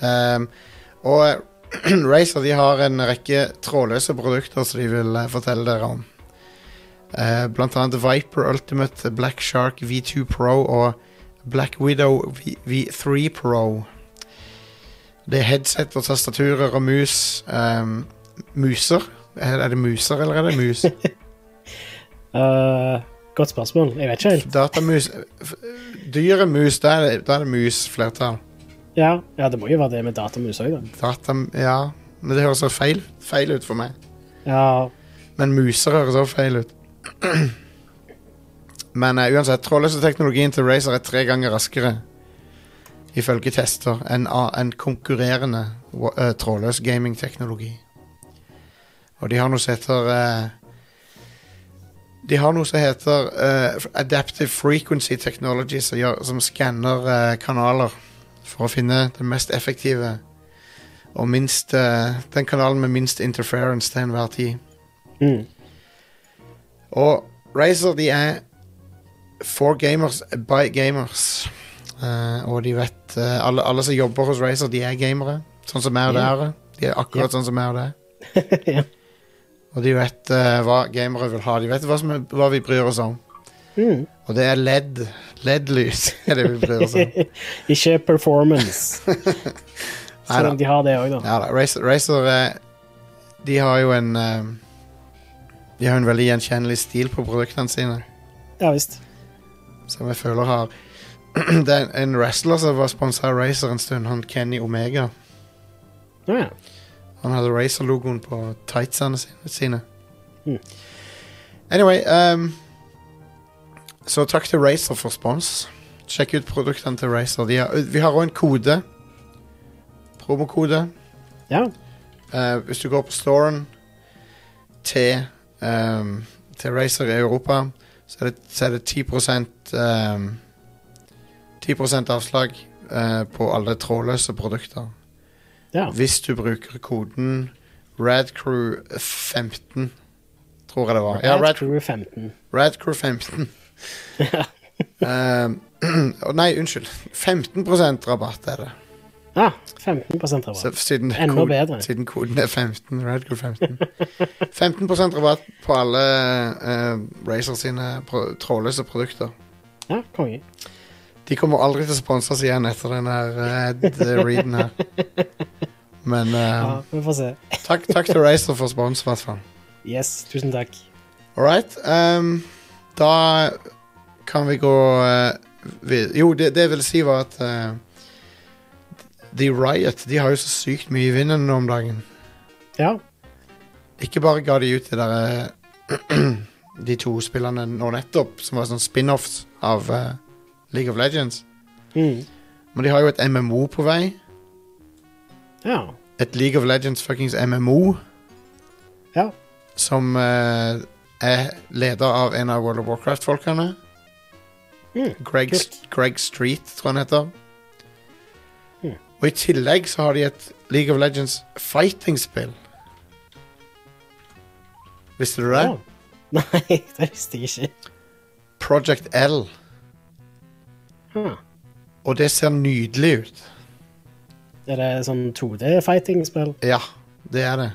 Speaker 1: Ehm, og Razer de har en rekke trådløse produkter som de vil eh, fortelle dere om. Eh, blant annet Viper Ultimate, Black Shark V2 Pro og Black Widow v V3 Pro. Det er headset og tastaturer og mus. ehm, muser? Er er det muser, eller er det mus?
Speaker 2: Eh, godt spørsmål. Jeg vet ikke helt.
Speaker 1: Datamus f- Dyre mus, da er det, da er det mus, flertall.
Speaker 2: Ja, ja det må jo være det med datamus òg, da.
Speaker 1: Data... Ja. Men det høres så feil, feil ut for meg.
Speaker 2: Ja,
Speaker 1: Men muser høres også feil ut. Men eh, uansett, trådløse teknologien til Razer er tre ganger raskere ifølge tester enn a- enn konkurrerende wa- eh, trådløs gamingteknologi. Og de har noe som heter eh, De har noe som heter eh, f- Adaptive Frequency Technology, som, gjør- som skanner eh, kanaler for å finne den mest effektive og minst eh, Den kanalen med minst interference til enhver tid.
Speaker 2: mm.
Speaker 1: Og Razer, de er for gamers by gamers. Eh, og de vet eh, alle, alle som jobber hos Razer, de er gamere. Sånn som meg og
Speaker 2: Ja.
Speaker 1: dere. De er akkurat
Speaker 2: Ja.
Speaker 1: sånn som meg og deg.
Speaker 2: Ja.
Speaker 1: Og de vet eh, hva gamere vil ha. De vet hva, som er, hva vi bryr oss om.
Speaker 2: Mm.
Speaker 1: Og det er LED. LED-lys er det vi bryr oss om.
Speaker 2: ikke performance. Selv
Speaker 1: Neida.
Speaker 2: om de har det òg, da.
Speaker 1: Ja da, Razer, Razer eh, De har jo en eh, De har en veldig gjenkjennelig stil på produktene sine.
Speaker 2: Ja visst.
Speaker 1: Som jeg føler har Det er en wrestler som var sponsa av Racer en stund, han Kenny Omega.
Speaker 2: Å ja.
Speaker 1: Han hadde Racer-logoen på tightsene sine. sine.
Speaker 2: Mm.
Speaker 1: Anyway ehm, Så takk til Racer for spons. Sjekk ut produktene til Racer. De har, vi har òg en kode. Promokode.
Speaker 2: ja.
Speaker 1: Eh, hvis du går på storen til, ehm, til Racer i Europa, så er det, så er det 10 ehm, 10 avslag eh, på alle trådløse produkter.
Speaker 2: Ja.
Speaker 1: Hvis du bruker koden RADCREW15, tror jeg det var. Ja,
Speaker 2: Bad
Speaker 1: Rad,
Speaker 2: Crew 15.
Speaker 1: RADCREW15. Ehm, å nei, unnskyld. 15 rabatt er det.
Speaker 2: Ah, 15 rabatt.
Speaker 1: Så siden,
Speaker 2: Enda
Speaker 1: kod-
Speaker 2: bedre.
Speaker 1: siden koden er 15, Radcrew 15. 15 rabatt på alle uh, Razer sine pro trådløse produkter.
Speaker 2: Ja, konge.
Speaker 1: De kommer aldri til å sponse oss igjen etter den her ad-readen her. Men
Speaker 2: Ja,
Speaker 1: eh,
Speaker 2: vi får se.
Speaker 1: takk, takk til Razer for spons, i hvert fall.
Speaker 2: Yes, tusen takk.
Speaker 1: All right. ehm, da kan vi gå eh, vid Jo, det, det jeg ville si, var at eh, The Riot de har jo så sykt mye i vinden nå om dagen.
Speaker 2: Ja.
Speaker 1: Ikke bare ga de ut det der, eh, De to spillene nå nettopp, som var sånn spin-offs av eh, League of Legends.
Speaker 2: Mm.
Speaker 1: Men de har jo et MMO på vei.
Speaker 2: Ja.
Speaker 1: Et League of Legends fuckings MMO.
Speaker 2: Ja.
Speaker 1: Som eh, er leder av en av World of Warcraft-folkene.
Speaker 2: Mm,
Speaker 1: Greg,
Speaker 2: kult.
Speaker 1: Greg Street, tror jeg han heter.
Speaker 2: Mm.
Speaker 1: Og i tillegg så har de et League of Legends fighting-spill. Visste du det?
Speaker 2: Ja. Nei, det visste jeg ikke.
Speaker 1: Project L.
Speaker 2: Ah.
Speaker 1: Og det ser nydelig ut.
Speaker 2: Er det sånn 2D-fighting-spill?
Speaker 1: Ja, det er det.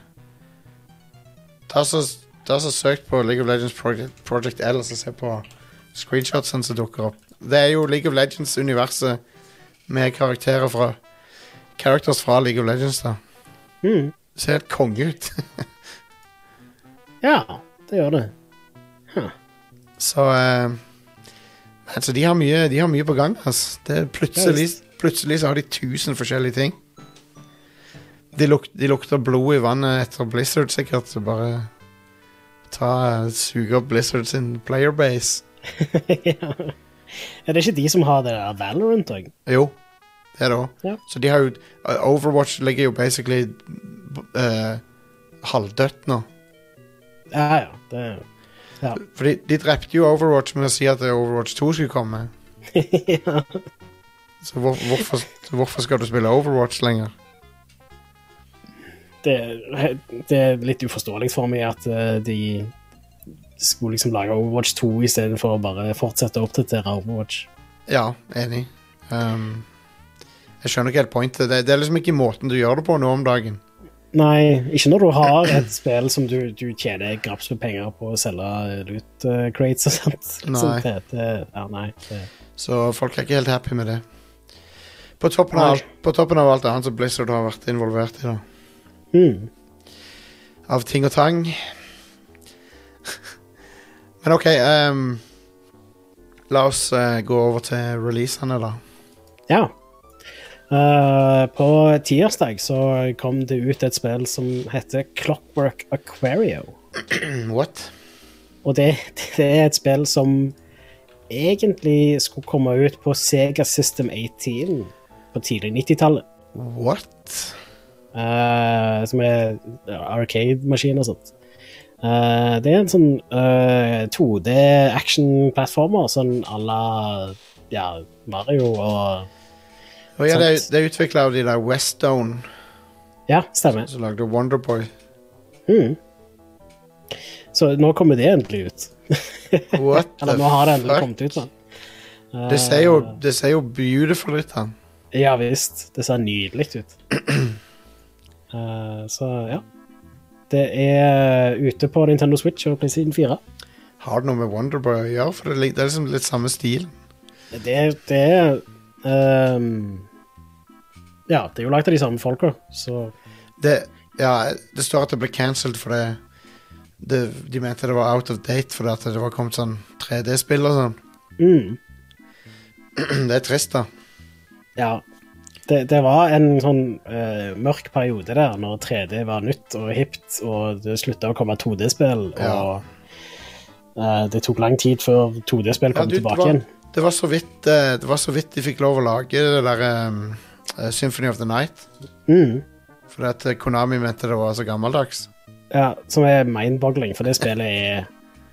Speaker 1: Ta så, ta så søk på League of Legends Project, Project L og så se på screenshotsene som dukker opp. Det er jo League of Legends-universet med karakterer fra Characters fra League of Legends, da.
Speaker 2: Mm.
Speaker 1: Ser helt konge ut.
Speaker 2: Ja, det gjør det.
Speaker 1: så eh, Altså, de har mye, de har mye på gang, ass. Det er plutselig, plutselig så har de 1000 forskjellige ting. De, luk, de lukter blod i vannet etter Blizzard, sikkert. Så bare ta, suge opp Blizzard sin playerbase.
Speaker 2: ja. Er det ikke de som har det der Valorant òg?
Speaker 1: Jo, det er det òg.
Speaker 2: Ja.
Speaker 1: Så de har jo Overwatch ligger jo basically eh, halvdødt nå.
Speaker 2: Ja, ja. Det... ja.
Speaker 1: For de, de drepte jo Overwatch med å si at Overwatch 2 skulle komme.
Speaker 2: ja.
Speaker 1: Så hvor, hvorfor, så hvorfor skal du spille Overwatch lenger?
Speaker 2: Det, det er litt uforståelig for meg at eh, de skulle liksom lage Overwatch 2 istedenfor å bare fortsette å oppdatere Overwatch.
Speaker 1: Ja, enig. Ehm, jeg skjønner ikke helt pointet. Det, det er liksom ikke måten du gjør det på nå om dagen.
Speaker 2: Nei, ikke når du har et spill som du, du tjener graps med penger på å selge loot eh, crates og sånt. Liksom,
Speaker 1: Nei.
Speaker 2: Det, det, ja, nei. Det,
Speaker 1: Så folk er ikke helt happy med det. På toppen av,
Speaker 2: Nei.
Speaker 1: alt- på toppen av alt annet som Blizzard har vært involvert i, da.
Speaker 2: mm.
Speaker 1: Av ting og tang. Men OK ehm, La oss eh, gå over til releasene, da.
Speaker 2: Ja. Eh, på tirsdag så kom det ut et spill som heter Clockwork Aquario. Mm,
Speaker 1: What?
Speaker 2: Og det, det er et spill som egentlig skulle komme ut på Sega System 18 på tidlig 90-tallet.
Speaker 1: What?
Speaker 2: eh, som er ja, arcade-maskin og sånt. Eh, det er en sånn 2D-action-plattformer, sånn à la ja, Mario og
Speaker 1: Og ja, det, er-
Speaker 2: Sant.
Speaker 1: det er utvikla av de der Westone
Speaker 2: Ja, stemmer.
Speaker 1: som lagde Wonderboy.
Speaker 2: Mm. Så nå kommer det endelig ut.
Speaker 1: What
Speaker 2: Eller nå har det endelig
Speaker 1: fuck?
Speaker 2: kommet ut, da. Eh,
Speaker 1: Det ser jo, det ser jo beautiful ut, da.
Speaker 2: Ja visst. Det ser nydelig ut. Eh, så ja. Det er eh, ute på Nintendo Switch og PlayStation 4.
Speaker 1: Har det noe med Wonderboy å gjøre? For det, lik- det er liksom litt samme stil.
Speaker 2: Det, det er ehm, Ja, det er jo lagd av de samme folka, så
Speaker 1: Det, ja, det står at det ble cancelled fordi det, de mente det var out of date fordi at det var kommet sånn 3D-spill og sånn.
Speaker 2: Mm.
Speaker 1: Det er trist, da.
Speaker 2: Ja. Det, det var en sånn eh, mørk periode der, når 3D var nytt og hipt, og det slutta å komme 2D-spill, og
Speaker 1: Ja.
Speaker 2: eh, det tok lang tid før 2D-spill kom
Speaker 1: du, det,
Speaker 2: tilbake
Speaker 1: var,
Speaker 2: igjen.
Speaker 1: det, var så vidt, eh, det var så vidt de fikk lov å lage det der em, eh, Symphony of the Night.
Speaker 2: Mm.
Speaker 1: Fordi at eh, Konami mente det var så gammeldags.
Speaker 2: Ja, som er mindboggling, for det spillet er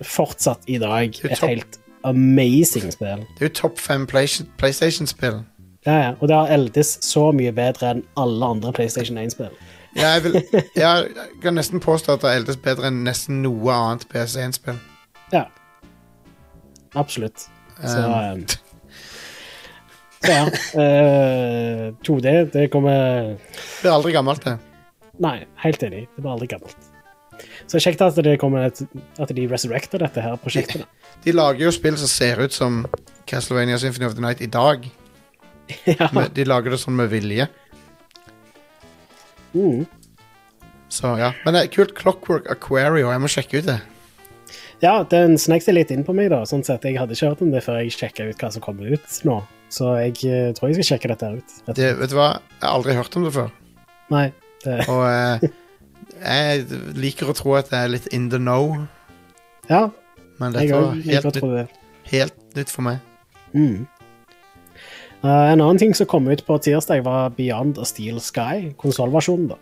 Speaker 2: fortsatt i dag
Speaker 1: er
Speaker 2: et
Speaker 1: topp.
Speaker 2: helt amazing spill.
Speaker 1: Det er jo topp fem Play- PlayStation-spill.
Speaker 2: Ja, ja. Og det har eldes så mye bedre enn alle andre PlayStation 1-spill.
Speaker 1: Ja, jeg, vil, ja, jeg kan nesten påstå at det eldes bedre enn nesten noe annet PS1-spill.
Speaker 2: Ja. Absolutt. Så
Speaker 1: Um.
Speaker 2: um, så ja. eh, 2D, det kommer
Speaker 1: Det er aldri gammelt, det.
Speaker 2: Nei, helt enig. Det var aldri gammelt. Så kjekt at det kommer et, At de resurrecter dette her prosjektet. da.
Speaker 1: De lager jo spill som ser ut som Castlevania Symphony of the Night i dag.
Speaker 2: ja.
Speaker 1: Men De lager det sånn med vilje.
Speaker 2: Mm.
Speaker 1: Så ja, Men det er kult. Clockwork Aquario. Jeg må sjekke ut det.
Speaker 2: ja, den snek seg litt inn på meg, da. Sånn sett, Jeg hadde ikke hørt om det før jeg sjekka ut hva som kommer ut nå. Så jeg eh, tror jeg skal sjekke dette her ut. rett og
Speaker 1: det vet du hva? Jeg har aldri hørt om det før.
Speaker 2: slett. Nei, det,
Speaker 1: Og eh, jeg liker å tro at jeg er litt in the know,
Speaker 2: ja,
Speaker 1: men
Speaker 2: jeg
Speaker 1: dette var
Speaker 2: òg. Jeg
Speaker 1: helt,
Speaker 2: godt
Speaker 1: nytt,
Speaker 2: tror det.
Speaker 1: helt nytt for meg.
Speaker 2: Mm. Eh, en annen ting som kom ut på tirsdag, var Beyond a Steel Sky, konsollversjonen. da.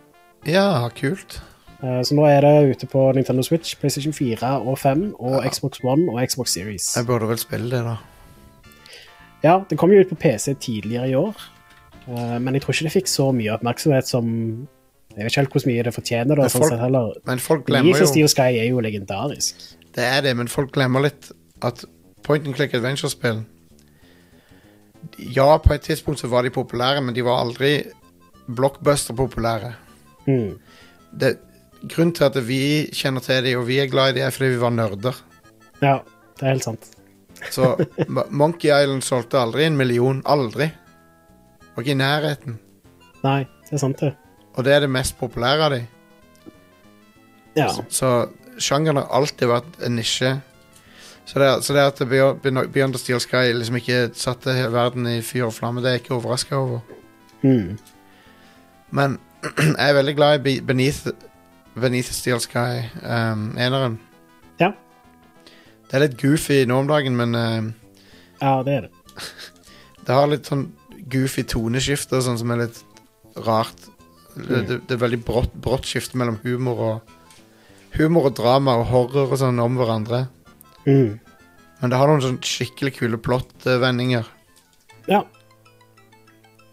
Speaker 1: Ja, kult.
Speaker 2: Eh, så nå er det ute på Nintendo Switch, PlayStation 4 og 5, og
Speaker 1: Ja.
Speaker 2: Xbox One og Xbox Series.
Speaker 1: Jeg burde vel spille det, da.
Speaker 2: Ja, det kom jo ut på PC tidligere i år, eh, men jeg tror ikke det fikk så mye oppmerksomhet som Jeg vet ikke helt hvor mye det fortjener, da,
Speaker 1: Men
Speaker 2: sånn
Speaker 1: folk
Speaker 2: sett heller.
Speaker 1: Men folk
Speaker 2: Beyond
Speaker 1: glemmer
Speaker 2: a
Speaker 1: jo
Speaker 2: Steel Sky er jo legendarisk.
Speaker 1: Det er det, men folk glemmer litt at point and click adventure-spill Ja, på et tidspunkt så var de populære, men de var aldri blockbuster-populære.
Speaker 2: Mm.
Speaker 1: Det- Grunnen til at vi kjenner til de og vi er glad i de, er fordi vi var nerder.
Speaker 2: Ja, det er helt sant.
Speaker 1: Så Mo- Monkey Island solgte aldri en million. Aldri. Og ikke i nærheten.
Speaker 2: Nei, det er sant, det.
Speaker 1: Og det er det mest populære av dem.
Speaker 2: Ja.
Speaker 1: Så sjangeren har alltid vært en nisje. Så det, så det at Beyond- Beyond Beyond the Steel Sky liksom ikke satte he- verden i fyr og flamme, det er jeg ikke overraska over.
Speaker 2: Mm.
Speaker 1: Men jeg er veldig glad i Be- Beneath, Beneath the Steel Sky, um, eneren.
Speaker 2: Ja.
Speaker 1: Det er litt goofy nå om dagen, men um,
Speaker 2: ja, det er det.
Speaker 1: det har litt sånn goofy toneskifte og sånn som er litt rart.
Speaker 2: Mm.
Speaker 1: Det, det, det er veldig brått, brått skifte mellom humor og Humor og drama og horror og sånn om hverandre.
Speaker 2: Mm.
Speaker 1: Men det har noen sånn skikkelig kule plott-vendinger.
Speaker 2: Ja.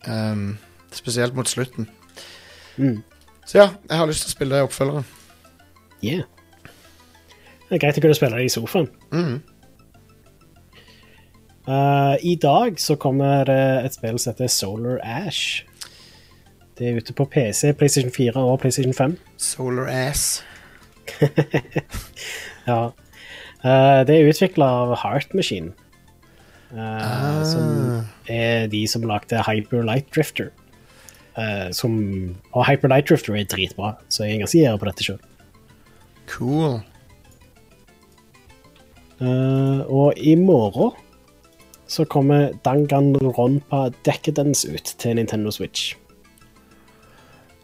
Speaker 1: ehm, spesielt mot slutten.
Speaker 2: Mm.
Speaker 1: Så ja, jeg har lyst til å spille det i oppfølgeren.
Speaker 2: Yeah. Det er greit å kunne spille det i sofaen.
Speaker 1: Mhm.
Speaker 2: Eh, I dag så kommer det et spill som heter Solar Ash. Det er ute på PC, PlayStation 4 og PlayStation 5.
Speaker 1: Solar Ass.
Speaker 2: Ja. Eh, det er utvikla av Heart Machine, eh, som er de som lagde Hyper Light Drifter. Eh, som, og Hyper Light Drifter er dritbra, så jeg er ganske gjerrig på dette sjøl.
Speaker 1: Cool.
Speaker 2: Eh, og i morgen så kommer Danganronpa Decadence ut til Nintendo Switch.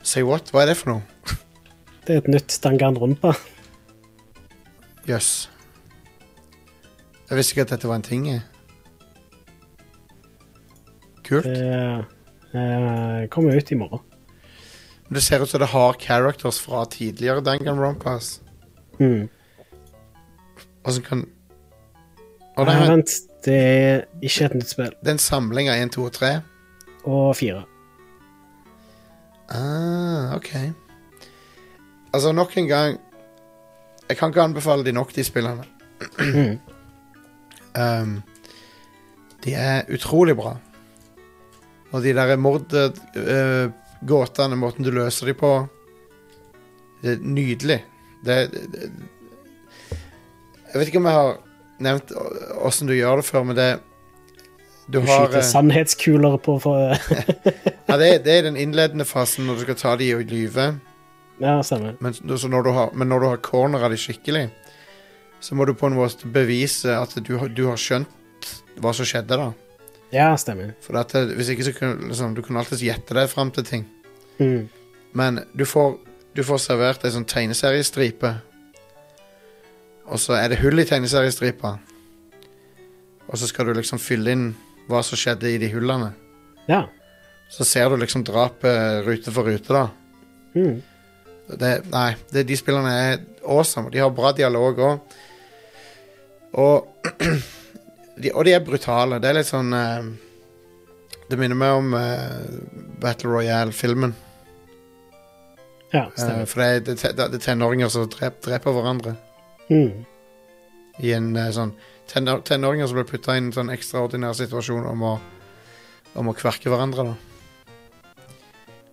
Speaker 1: Say what? Hva er det for noe?
Speaker 2: Det er et nytt Danganronpa.
Speaker 1: Jøss. Jeg visste ikke at dette var en ting. jeg. Kult.
Speaker 2: Det eh, kommer ut i morgen.
Speaker 1: Men Det ser ut som det har characters fra tidligere Danganronpas.
Speaker 2: Mm.
Speaker 1: Og som kan Å
Speaker 2: Nei,
Speaker 1: nei,
Speaker 2: Eh, vent, det er ikke et nytt spill.
Speaker 1: det er en samling av 1, 2 og 3.
Speaker 2: Og fire.
Speaker 1: Ah, OK. Altså, nok en gang Jeg kan ikke anbefale de nok, de spillene. um, de er utrolig bra. Og de der mordgåtene, måten du løser de på Det er nydelig. Det, det, det Jeg vet ikke om jeg har nevnt åssen du gjør det før, men det Du
Speaker 2: Du
Speaker 1: har
Speaker 2: skyter
Speaker 1: eh,
Speaker 2: sannhetskuler på for,
Speaker 1: ja, det, det er den innledende fasen når du skal ta de og lyve.
Speaker 2: Ja, stemmer.
Speaker 1: Men, så når du har, men når du har cornera de skikkelig, så må du på en måte bevise at du, har- du har skjønt hva som skjedde, da.
Speaker 2: Ja, stemmer.
Speaker 1: For at, det- hvis ikke, så kunne liksom, du kunne alltids gjette deg fram til ting.
Speaker 2: Mm.
Speaker 1: Men du får, du får servert ei sånn tegneseriestripe. Og så er det hull i tegneseriestripa. Og så skal du liksom fylle inn hva som skjedde i de hullene.
Speaker 2: Ja.
Speaker 1: Så ser du liksom drapet rute for rute, da.
Speaker 2: Mm.
Speaker 1: Det, nei, det, de spillerne er awesome. De har bra dialog òg. Og, de- og de er brutale. Det er litt sånn eh, Det minner meg om eh, Battle Royale-filmen.
Speaker 2: ja
Speaker 1: Eh,
Speaker 2: stemmer.
Speaker 1: for det er, det, er- det er tenåringer som drep, dreper hverandre.
Speaker 2: Mm.
Speaker 1: I en eh, sånn tenår, Tenåringer som blir putta i en sånn ekstraordinær situasjon om å, om å kverke hverandre. da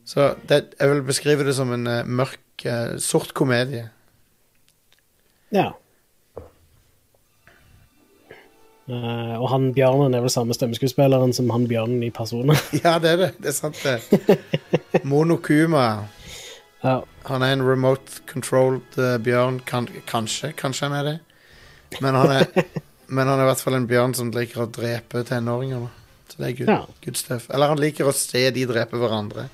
Speaker 1: Så det, jeg vil beskrive det som en eh, mørk, eh, sort komedie.
Speaker 2: Ja. Eh, og han bjørnen er vel samme stemmeskuespilleren som han bjørnen i Persona.
Speaker 1: Ja, det er det. Det er sant, det. Monokuma.
Speaker 2: ja.
Speaker 1: Han er en remote controlled eh, bjørn. Kan, kanskje. Kanskje han er det. Men han er, men han er i hvert fall en bjørn som liker å drepe tenåringer. da. Så det er good,
Speaker 2: Ja.
Speaker 1: good stuff. Eller han liker å se de drepe hverandre.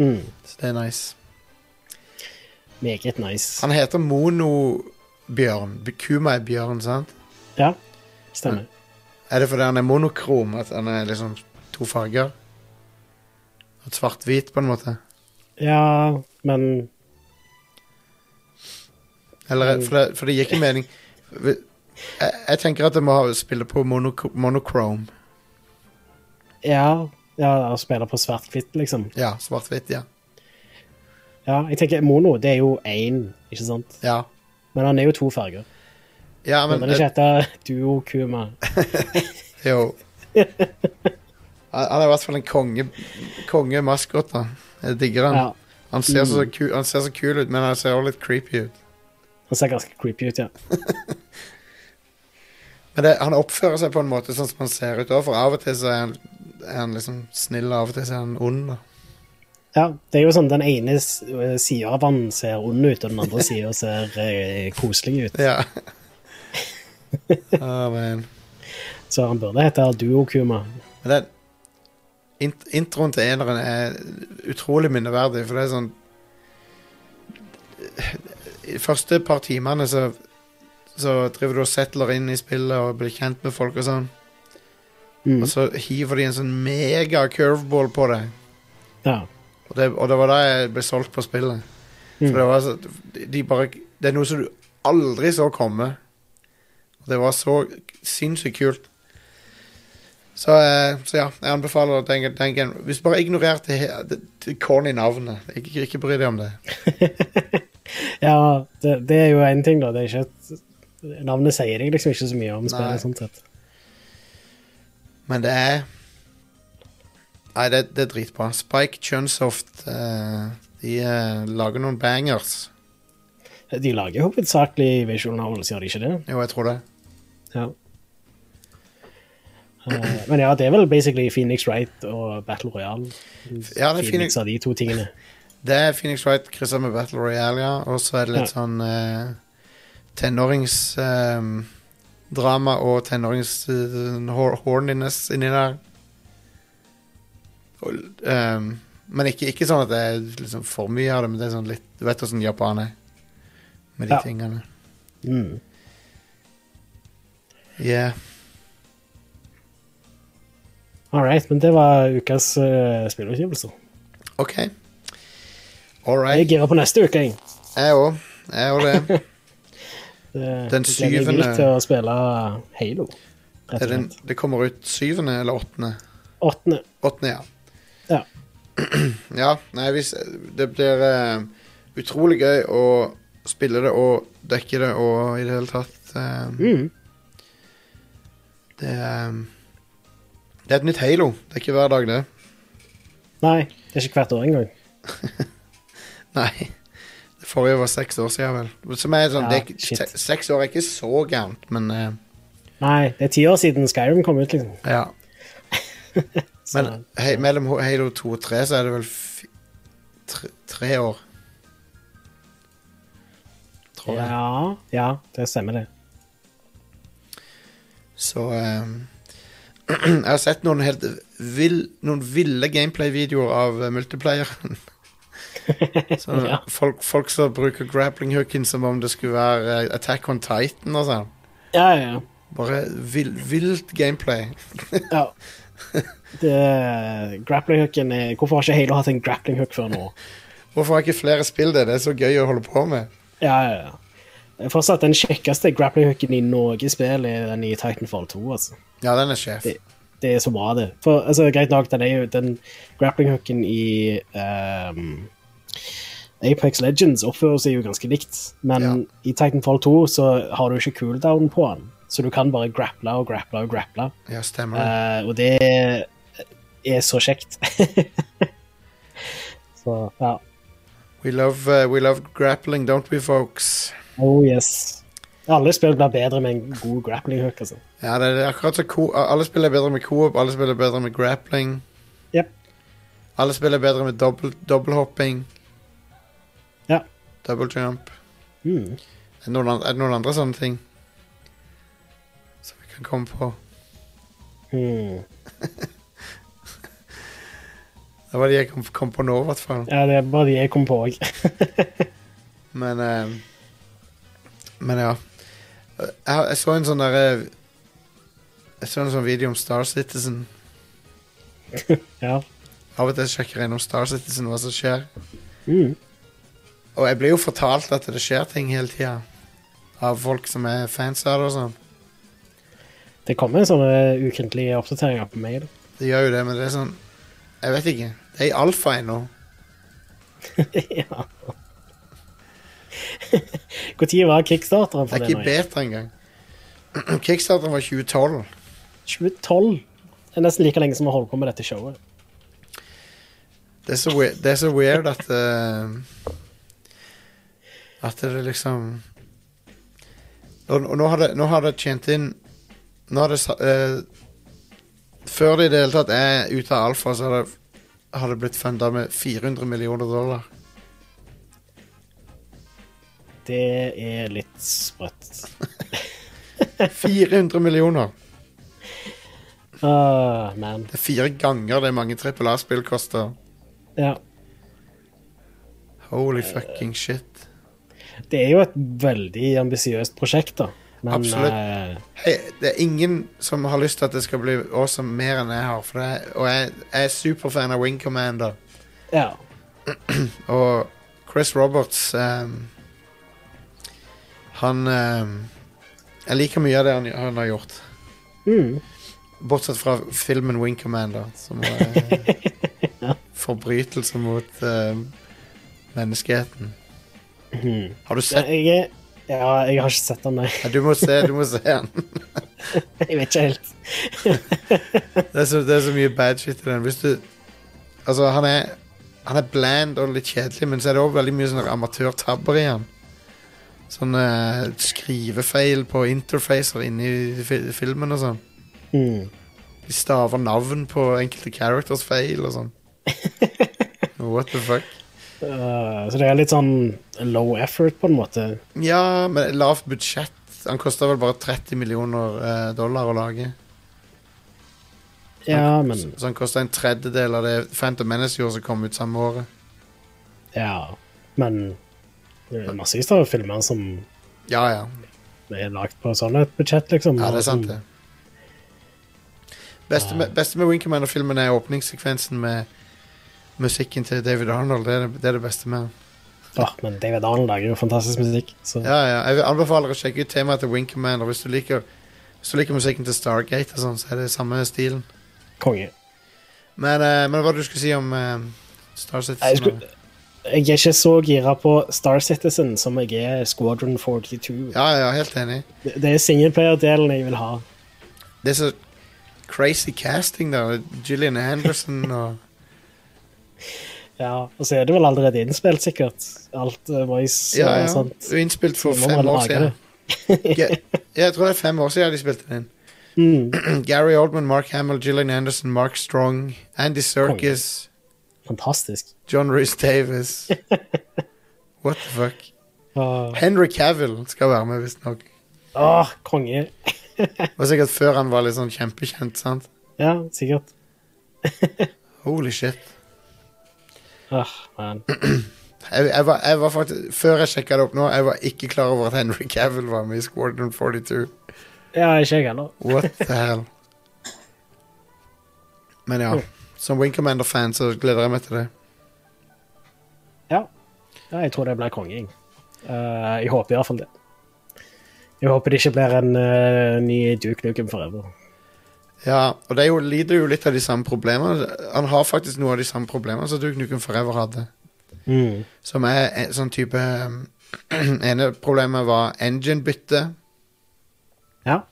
Speaker 2: Mm.
Speaker 1: Så det er nice.
Speaker 2: Meget nice.
Speaker 1: Han heter Monobjørn. B- Kuma er bjørn, sant?
Speaker 2: Ja, stemmer.
Speaker 1: Er det fordi han er monokrom? At han er liksom to farger? At Svart-hvit, på en måte?
Speaker 2: Ja, men
Speaker 1: Eller, for, det, for det gir ikke mening Vi- jeg, jeg tenker at det må ha- spille på monok monochrome.
Speaker 2: Ja, ja å spille på svart-hvitt, liksom.
Speaker 1: Ja, svart-hvitt, ja.
Speaker 2: Ja, jeg tenker Mono det er jo én, ikke sant?
Speaker 1: ja.
Speaker 2: Men han er jo to farger.
Speaker 1: Ja,
Speaker 2: Men
Speaker 1: men
Speaker 2: den er ikke etter Duo Kuma.
Speaker 1: eh, Jo. Han han er i hvert fall en konge kongemaskot, da. Jeg digger han.
Speaker 2: Ja,
Speaker 1: Han, ser så ku, han ser så kul ut, men han ser også litt creepy ut.
Speaker 2: Han ser ganske creepy ut, ja.
Speaker 1: Men det, han oppfører seg på en måte sånn som han ser ut òg, for av og til så er han, er han liksom snill, og av og til så er han ond. da
Speaker 2: Ja, Det er jo sånn den ene sida av han ser ond ut, og den andre sida ser eh, koselig ut.
Speaker 1: Ja. Å, man.
Speaker 2: Så han burde hete Duo Kuma.
Speaker 1: Men den int introen til eneren er utrolig minneverdig, for det er sånn I de første par timene så, så driver du og settler inn i spillet og blir kjent med folk og sånn,
Speaker 2: Mm.
Speaker 1: og så hiver de en sånn mega curveball på deg.
Speaker 2: Ja.
Speaker 1: Og det, og det var da jeg ble solgt på spillet.
Speaker 2: Mm.
Speaker 1: For det var så, de- de bare, det er noe som du aldri så komme. Og det var så sinnssykt kult. Så, eh, så ja, jeg anbefaler den, den gen... Hvis du bare ignorer det, he- det, det corny navnet. Ikke, ikke bry deg om det.
Speaker 2: Ja, det, det er jo én ting, da. Det er ikke et, navnet sier deg liksom ikke så mye om
Speaker 1: Nei.
Speaker 2: spillet, sånn sett.
Speaker 1: Men det er Nei, det, det er dritbra. Spike Chunsoft eh, De eh, lager noen bangers.
Speaker 2: De lager jo hovedsakelig visual novels, gjør de ikke det?
Speaker 1: Jo, jeg tror det.
Speaker 2: Ja. Eh, men ja, det er vel basically Phoenix Wright og Battle Royale.
Speaker 1: Ja, det er
Speaker 2: Phoenix
Speaker 1: Phoenix-
Speaker 2: av de to tingene.
Speaker 1: Det er Phoenix Wright krysser med Battle Royale, ja. Og så er det litt
Speaker 2: Ja.
Speaker 1: sånn tenåringsdrama og tenårings-horniness inni der. Og, ehm, men ikke, ikke sånn at det er liksom for mye av det, men det er sånn litt Du vet åssen Japan er med de
Speaker 2: Ja.
Speaker 1: tingene.
Speaker 2: Mm.
Speaker 1: Yeah.
Speaker 2: All right, men det var ukas uh, spillutgivelser.
Speaker 1: OK. All
Speaker 2: Jeg
Speaker 1: right.
Speaker 2: girer på neste uke, jeg.
Speaker 1: Jeg òg. Jeg òg det.
Speaker 2: Det-
Speaker 1: Den
Speaker 2: jeg gleder meg
Speaker 1: syvende-
Speaker 2: vilt til å spille Halo, rett
Speaker 1: Det,
Speaker 2: og
Speaker 1: er den-
Speaker 2: slett.
Speaker 1: det kommer ut syvende eller åttende.
Speaker 2: Åttende.
Speaker 1: Åttende, ja.
Speaker 2: Ja.
Speaker 1: Ja, nei, hvis, det blir eh, utrolig gøy å spille det og dekke det og i det hele tatt eh,
Speaker 2: Mm.
Speaker 1: det, eh, det er et nytt Halo. Det er ikke hver dag, det.
Speaker 2: Nei, det er ikke hvert år engang.
Speaker 1: Nei. Det forrige var seks år siden, vel. Som er sånn,
Speaker 2: Ja,
Speaker 1: det er, ikke-
Speaker 2: shit.
Speaker 1: se- Seks år er ikke så gærent, men eh,
Speaker 2: Nei, det er ti år siden Skyrim kom ut, liksom.
Speaker 1: ja.
Speaker 2: Så,
Speaker 1: Men hei, mellom Halo 2 og 3 så er det vel fi, tre, tre år. tror jeg.
Speaker 2: Ja, ja, det stemmer, det.
Speaker 1: Så ehm, Jeg har sett noen helt vill, Noen ville gameplay-videoer av eh, multiplayeren. Så
Speaker 2: Ja.
Speaker 1: folk, folk som bruker grappling hooken som om det skulle være eh, Attack on Titan og sånn.
Speaker 2: Ja, ja, ja.
Speaker 1: Bare vill, vilt gameplay.
Speaker 2: ja. Det, grapplinghooken er Hvorfor har ikke Halo hatt en grappling-hook før nå?
Speaker 1: Hvorfor har ikke flere spill det? Det er så gøy å holde på med.
Speaker 2: Ja, ja, ja. Det er Fortsatt den kjekkeste grapplinghooken i noe spill er den i Titanfall 2, altså.
Speaker 1: Ja, den er sjef.
Speaker 2: det, det er så bra, det. For altså, greit nok, den er jo den grapplinghooken i ehm, Apex Legends oppfører seg jo ganske likt, men
Speaker 1: Ja.
Speaker 2: i Titanfall 2 så har du ikke cooldown på den, så du kan bare grapple og grapple og grapple,
Speaker 1: Ja, stemmer det.
Speaker 2: Eh, og det er så kjekt. så, ja.
Speaker 1: We love, eh, we love grappling, don't we, folks?
Speaker 2: Oh yes. Alle spill blir bedre med en god grappling-hook, altså.
Speaker 1: Ja, det er akkurat så co Alle spill er bedre med co-op, alle spill er bedre med grappling.
Speaker 2: Jep.
Speaker 1: Alle spill er bedre med dobbel- dobbelthopping.
Speaker 2: Ja.
Speaker 1: Double jump.
Speaker 2: Mm.
Speaker 1: Er det, noen, an- er det noen andre sånne ting som vi kan komme på?
Speaker 2: Mm.
Speaker 1: Det var de jeg kom, kom på nå, i hvert fall.
Speaker 2: Ja, det er bare de jeg kom på òg.
Speaker 1: Men eh, Men ja. Jeg, jeg så en sånn derre Jeg så en sånn video om Star Citizen.
Speaker 2: ja.
Speaker 1: Av og til sjekker jeg innom Star Citizen hva som skjer.
Speaker 2: Mm.
Speaker 1: Og jeg blir jo fortalt at det skjer ting hele tida. Av folk som er fans av det og sånn.
Speaker 2: Det kommer sånne ukentlige oppdateringer på mail.
Speaker 1: Det gjør jo det, men det er sånn Jeg vet ikke. Det er i alfa ennå.
Speaker 2: ja. Når var kickstarteren
Speaker 1: Det
Speaker 2: for
Speaker 1: er
Speaker 2: det?
Speaker 1: ikke i
Speaker 2: nå?
Speaker 1: beta engang. Kickstarteren var 2012.
Speaker 2: 2012. Det er nesten like lenge som vi holder på med dette showet.
Speaker 1: Det er så weird, det er så weird at eh, At det liksom Og, og nå, har det, nå har det tjent inn Nå har det sa- eh, Før det i det hele tatt er ute av alfa, så har det, har det blitt funda med 400 millioner dollar.
Speaker 2: Det er litt sprøtt.
Speaker 1: 400 millioner!
Speaker 2: Åh, Ah, man.
Speaker 1: Det er fire ganger det mange trippel A-spill koster.
Speaker 2: Ja.
Speaker 1: Holy fucking shit.
Speaker 2: Det er jo et veldig ambisiøst prosjekt, da. Men
Speaker 1: Absolutt.
Speaker 2: eh,
Speaker 1: Hei, det er ingen som har lyst til at det skal bli awesome mer enn jeg har. For det er, og jeg, jeg er superfan av Wing Commander.
Speaker 2: ja.
Speaker 1: Og Chris Roberts ehm, Han ehm, Jeg liker mye av det han, han har gjort.
Speaker 2: Mm.
Speaker 1: Bortsett fra filmen Wing Commander, som var eh, forbrytelse mot ehm, menneskeheten.
Speaker 2: Mhm.
Speaker 1: Har du
Speaker 2: Ja,
Speaker 1: sett
Speaker 2: jeg, er- ja, jeg har ikke sett den, nei.
Speaker 1: Ja, Du må se du må se den.
Speaker 2: Jeg vet ikke helt.
Speaker 1: Det er, så, det er så mye bad shit i den. Hvis du Altså, han er Han er bland og litt kjedelig, men så er det òg veldig mye sånne amatørtabber i han. Sånne eh, skrivefeil på interfacer inni fi filmen og sånn.
Speaker 2: Mm.
Speaker 1: De staver navn på enkelte characters feil og sånn. What the fuck?
Speaker 2: Eh, så det er litt sånn low effort, på en måte.
Speaker 1: Ja, men lavt budsjett. Han kosta vel bare 30 millioner eh, dollar å lage.
Speaker 2: Ja, men
Speaker 1: Så han kosta en tredjedel av det Phantom Menace gjorde som kom ut samme året.
Speaker 2: Ja, men det er massevis av filmer som
Speaker 1: Ja, ja.
Speaker 2: er lagd på sånn et budsjett, liksom.
Speaker 1: Ja, det er sant,
Speaker 2: Og
Speaker 1: det. Beste med, beste med Wing Commander-filmen er åpningssekvensen med musikken til David Arnold. Det er det, det, er det beste med den.
Speaker 2: som- Åh, Ah, men David Arnold lager jo fantastisk musikk, så ja.
Speaker 1: Ja, ja. Jeg vil anbefaler å sjekke ut temaet til Wing Commander. Hvis du liker, hvis du liker musikken til Stargate, og sånn, så er det samme stilen.
Speaker 2: konge.
Speaker 1: Men, eh, men hva var det du skulle si om eh, Star
Speaker 2: Nei, Jeg,
Speaker 1: Citizen?
Speaker 2: skulle, jeg er ikke så gira på Star Citizen som jeg er Squadron 42.
Speaker 1: Ja, ja, helt enig.
Speaker 2: Det, det er singleplayer-delen jeg vil ha.
Speaker 1: Det er så crazy casting, da. Gillian Anderson og
Speaker 2: Ja, Og så er det vel allerede innspilt, sikkert. Alt uh, voice
Speaker 1: Ja,
Speaker 2: og
Speaker 1: ja.
Speaker 2: sånt.
Speaker 1: Innspilt for
Speaker 2: Så må
Speaker 1: fem
Speaker 2: man
Speaker 1: år
Speaker 2: lage
Speaker 1: siden.
Speaker 2: det.
Speaker 1: Ge- Jeg tror det er fem år siden de spilte den inn.
Speaker 2: Mm,
Speaker 1: Gary Oldman, Mark Hamill, Gillian Anderson, Mark Strong, Andy Serkis,
Speaker 2: fantastisk.
Speaker 1: John Rhys Davis. What the fuck?
Speaker 2: Åh,
Speaker 1: Henry Cavill skal være med, visstnok.
Speaker 2: Åh, Ah, konge.
Speaker 1: Det var sikkert før han var litt sånn kjempekjent, sant?
Speaker 2: Ja, sikkert.
Speaker 1: Holy shit.
Speaker 2: Åh, Ah, man.
Speaker 1: Jeg, jeg, var, jeg var faktisk, Før jeg sjekka det opp nå, jeg var ikke klar over at Henry Cavill var med i Squadron 42.
Speaker 2: Ja, ikke jeg heller.
Speaker 1: What the hell? Men ja, som Wing Commander-fan så gleder jeg meg til det.
Speaker 2: Ja. ja jeg tror det blir konge, jeg. Eh, jeg håper iallfall det. Jeg håper det ikke blir en eh, ny Duke Nukem Forever.
Speaker 1: Ja, og det er jo, lider jo litt av de samme problemene. Han har faktisk noe av de samme problemene som Duke Nukem Forever hadde.
Speaker 2: Mm.
Speaker 1: Som er en sånn type um, ene problemet var engine-bytte.
Speaker 2: Ja.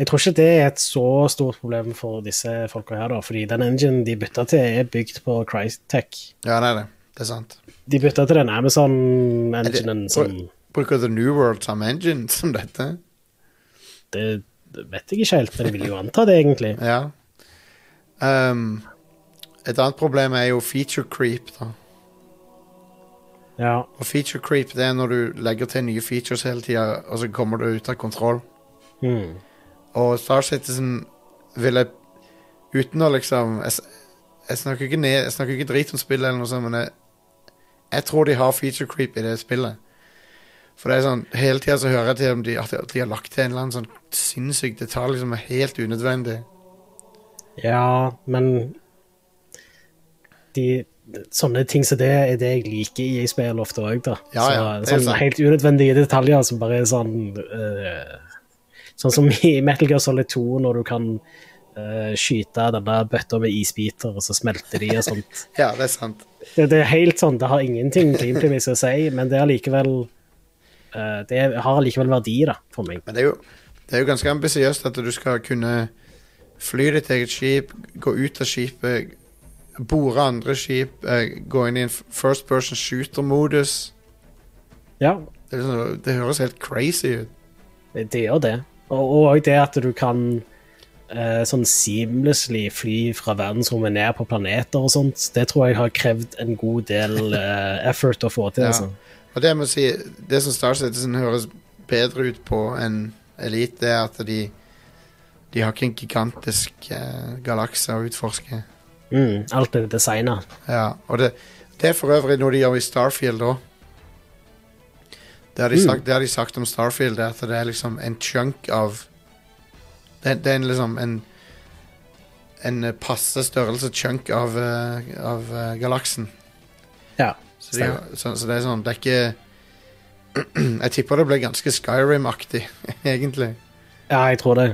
Speaker 2: Jeg tror ikke det er et så stort problem for disse folka her, da, fordi den enginen de bytta til, er bygd på Crytek.
Speaker 1: Ja, det er det. Det er sant.
Speaker 2: De bytta til den Amazon-enginen som
Speaker 1: Bruker The New World samme engine som dette?
Speaker 2: det, det vet jeg ikke helt, men jeg vil jo anta det, egentlig.
Speaker 1: Ja. Um, et annet problem er jo feature creep, da.
Speaker 2: Ja.
Speaker 1: Og feature creep det er når du legger til nye features hele tida, og så kommer du ut av kontroll.
Speaker 2: Mm.
Speaker 1: Og Star Citizen ville Uten å liksom Jeg, s- jeg snakker, ikke ned, jeg snakker ikke drit om spillet, eller noe sånt, men jeg, jeg tror de har feature creep i det spillet. For det er sånn, Hele tida så hører jeg til om de, at de har lagt til en eller annen sånn sinnssyk detalj som er helt unødvendig.
Speaker 2: Ja, men de, Sånne ting som det er det jeg liker i spill ofte òg, da.
Speaker 1: Ja, ja,
Speaker 2: Så,
Speaker 1: det er
Speaker 2: sånn
Speaker 1: sant.
Speaker 2: helt unødvendige detaljer som bare er sånn eh, Sånn som i Metal Gear Solid 2, når du kan eh, skyte denne bøtta med isbiter, og så smelter de og sånt.
Speaker 1: Ja, det er sant.
Speaker 2: Det, det er helt sånn, det har ingenting gameplay-messig å si, men det er allikevel eh, Det har allikevel verdi, da, for meg.
Speaker 1: Men det er jo, det er jo ganske ambisiøst at du skal kunne fly ditt eget skip, gå ut av skipet, bore andre skip, eh, gå inn i en f- first person shooter-modus.
Speaker 2: Ja,
Speaker 1: Det, er liksom, det høres helt crazy ut.
Speaker 2: Det det gjør det. Og òg det at du kan eh, sånn seamlessly fly fra verdensrommet ned på planeter og sånt, det tror jeg har krevd en god del eh, effort å få til.
Speaker 1: Ja.
Speaker 2: Altså.
Speaker 1: Og det jeg må si, det som Star Citizen liksom høres bedre ut på enn Elite, det er at de de har ikke en gigantisk eh, galakse å utforske.
Speaker 2: Mm, alt er designa.
Speaker 1: Ja, og det, det er for øvrig noe de gjør i Starfield òg. Det har de, sagt- det har de sagt om Starfield, det er at det er liksom en chunk av Det, er- det er en, liksom en en eh, passe størrelse chunk av, eh, av eh, galaksen.
Speaker 2: Ja.
Speaker 1: Så, de, har- så, så det er sånn Det er ikke Jeg tipper det blir ganske Skyrim-aktig, egentlig.
Speaker 2: ja, jeg tror det.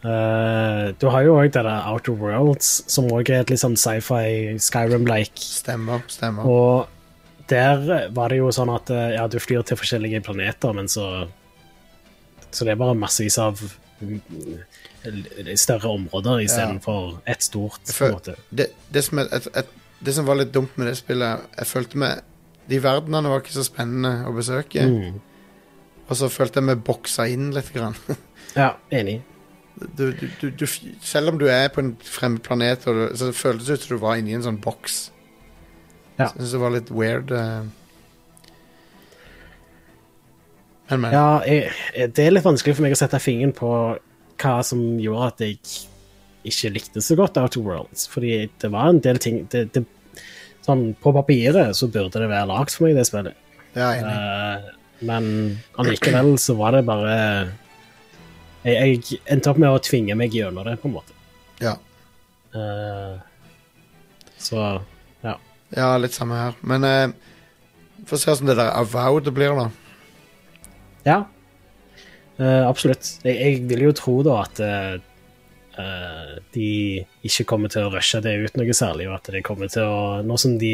Speaker 2: Eh, du har jo òg det der Outer Worlds, som òg er et litt sånn sci-fi Skyrim-like.
Speaker 1: Stemmer. stemmer
Speaker 2: Og der var det jo sånn at eh, ja, du flyr til forskjellige planeter, men så Så det er bare massevis av mm, l- større områder istedenfor ja. ett stort. på en
Speaker 1: Fø-
Speaker 2: måte.
Speaker 1: det, det, som er, et, et, det som var litt dumt med det spillet, jeg følte med De verdenene var ikke så spennende å besøke.
Speaker 2: Mm.
Speaker 1: Og så følte jeg meg boksa inn litt. Grann.
Speaker 2: Ja, enig.
Speaker 1: Du, du, du, du, f- selv om du er på en fremmed planet, og du, så føltes det ut som du var inni en sånn boks.
Speaker 2: Ja.
Speaker 1: Jeg syns det var litt weird. eh. Men, men.
Speaker 2: Ja, jeg, jeg- det er litt vanskelig for meg å sette fingeren på hva som gjorde at jeg ikke likte så godt Outer Worlds, fordi det var en del ting det, det, sånn, På papiret så burde det være lagd for meg, det spillet.
Speaker 1: Jeg er enig.
Speaker 2: Eh, men allikevel så var det bare jeg, jeg endte opp med å tvinge meg gjennom det, på en måte.
Speaker 1: Ja.
Speaker 2: Eh, så ja.
Speaker 1: ja, litt samme her. Men eh, få se hvordan det der avowed det blir, da.
Speaker 2: Ja, Eh, absolutt. Jeg, jeg vil jo tro da at eh, eh, de ikke kommer til å rushe det ut noe særlig, og at det kommer til å Nå som de,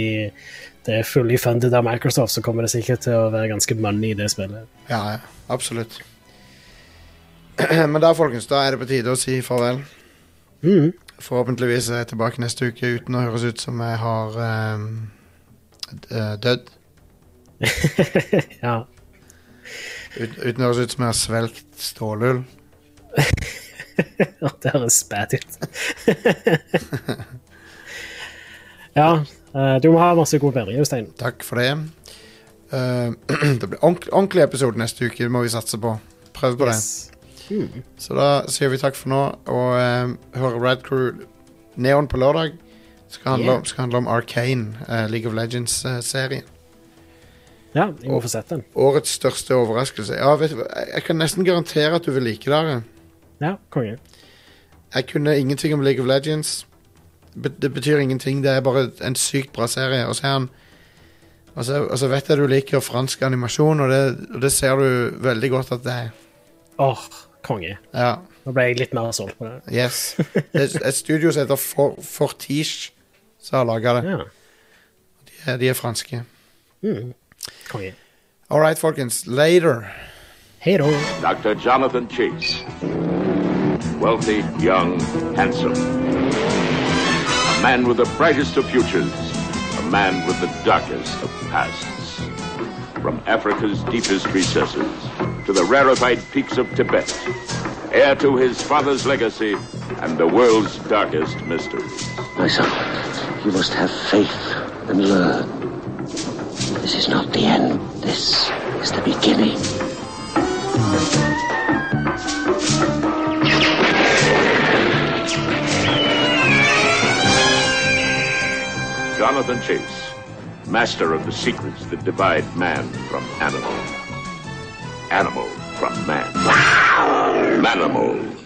Speaker 2: det er fully funded av Microsoft, så kommer det sikkert til å være ganske money i det spillet.
Speaker 1: Ja, ja, absolutt. Men da, folkens, da er det på tide å si farvel.
Speaker 2: Mm.
Speaker 1: Forhåpentligvis er jeg tilbake neste uke uten å høres ut som jeg har ehm, d- eh, dødd.
Speaker 2: Ja.
Speaker 1: Ut, uten å høres ut som jeg har svelgt stålull.
Speaker 2: Ja, det høres spæt ut. ja, eh, du må ha masse god bedring, Jostein.
Speaker 1: Takk for det. Eh, det blir ordentlig, ordentlig episode neste uke, det må vi satse på. Prøve på det.
Speaker 2: Yes. Mm.
Speaker 1: Så da sier vi takk for nå, og eh, hører Rad Crew Neon på lørdag. Skal handle,
Speaker 2: Yeah.
Speaker 1: om, skal handle om Arcane, eh, League of Legends-serien.
Speaker 2: Ja, jeg må få sett den.
Speaker 1: Årets største overraskelse. Ja, vet du, hva, jeg, jeg kan nesten garantere at du vil like det. Are.
Speaker 2: Ja, konge.
Speaker 1: Jeg kunne ingenting om League of Legends. Be- Det betyr ingenting. Det er bare en sykt bra serie. Og så, er han, og så, og så vet jeg du liker fransk animasjon, og det, og det ser du veldig godt at det er.
Speaker 2: Åh, konge.
Speaker 1: Ja,
Speaker 2: Nå ble jeg litt mer solgt på det.
Speaker 1: yes. Det er et studio som heter For, Fortige, som har laga det.
Speaker 2: Ja.
Speaker 1: De er, de er franske.
Speaker 2: Mm. Konge.
Speaker 1: All right, folkens. Later.
Speaker 2: Hei da.
Speaker 3: Dr. Jonathan Chase. Wealthy, young, handsome. A man with the brightest of futures. A man with the darkest of pasts. From Africa's deepest recesses to the rarefied peaks of Tibet. Heir to his father's legacy and the world's darkest mysteries.
Speaker 4: My son, you must have faith and learn. This is not the end. This is the beginning.
Speaker 3: Jonathan Chase, master of the secrets that divide man from animal, animal from man, manimal.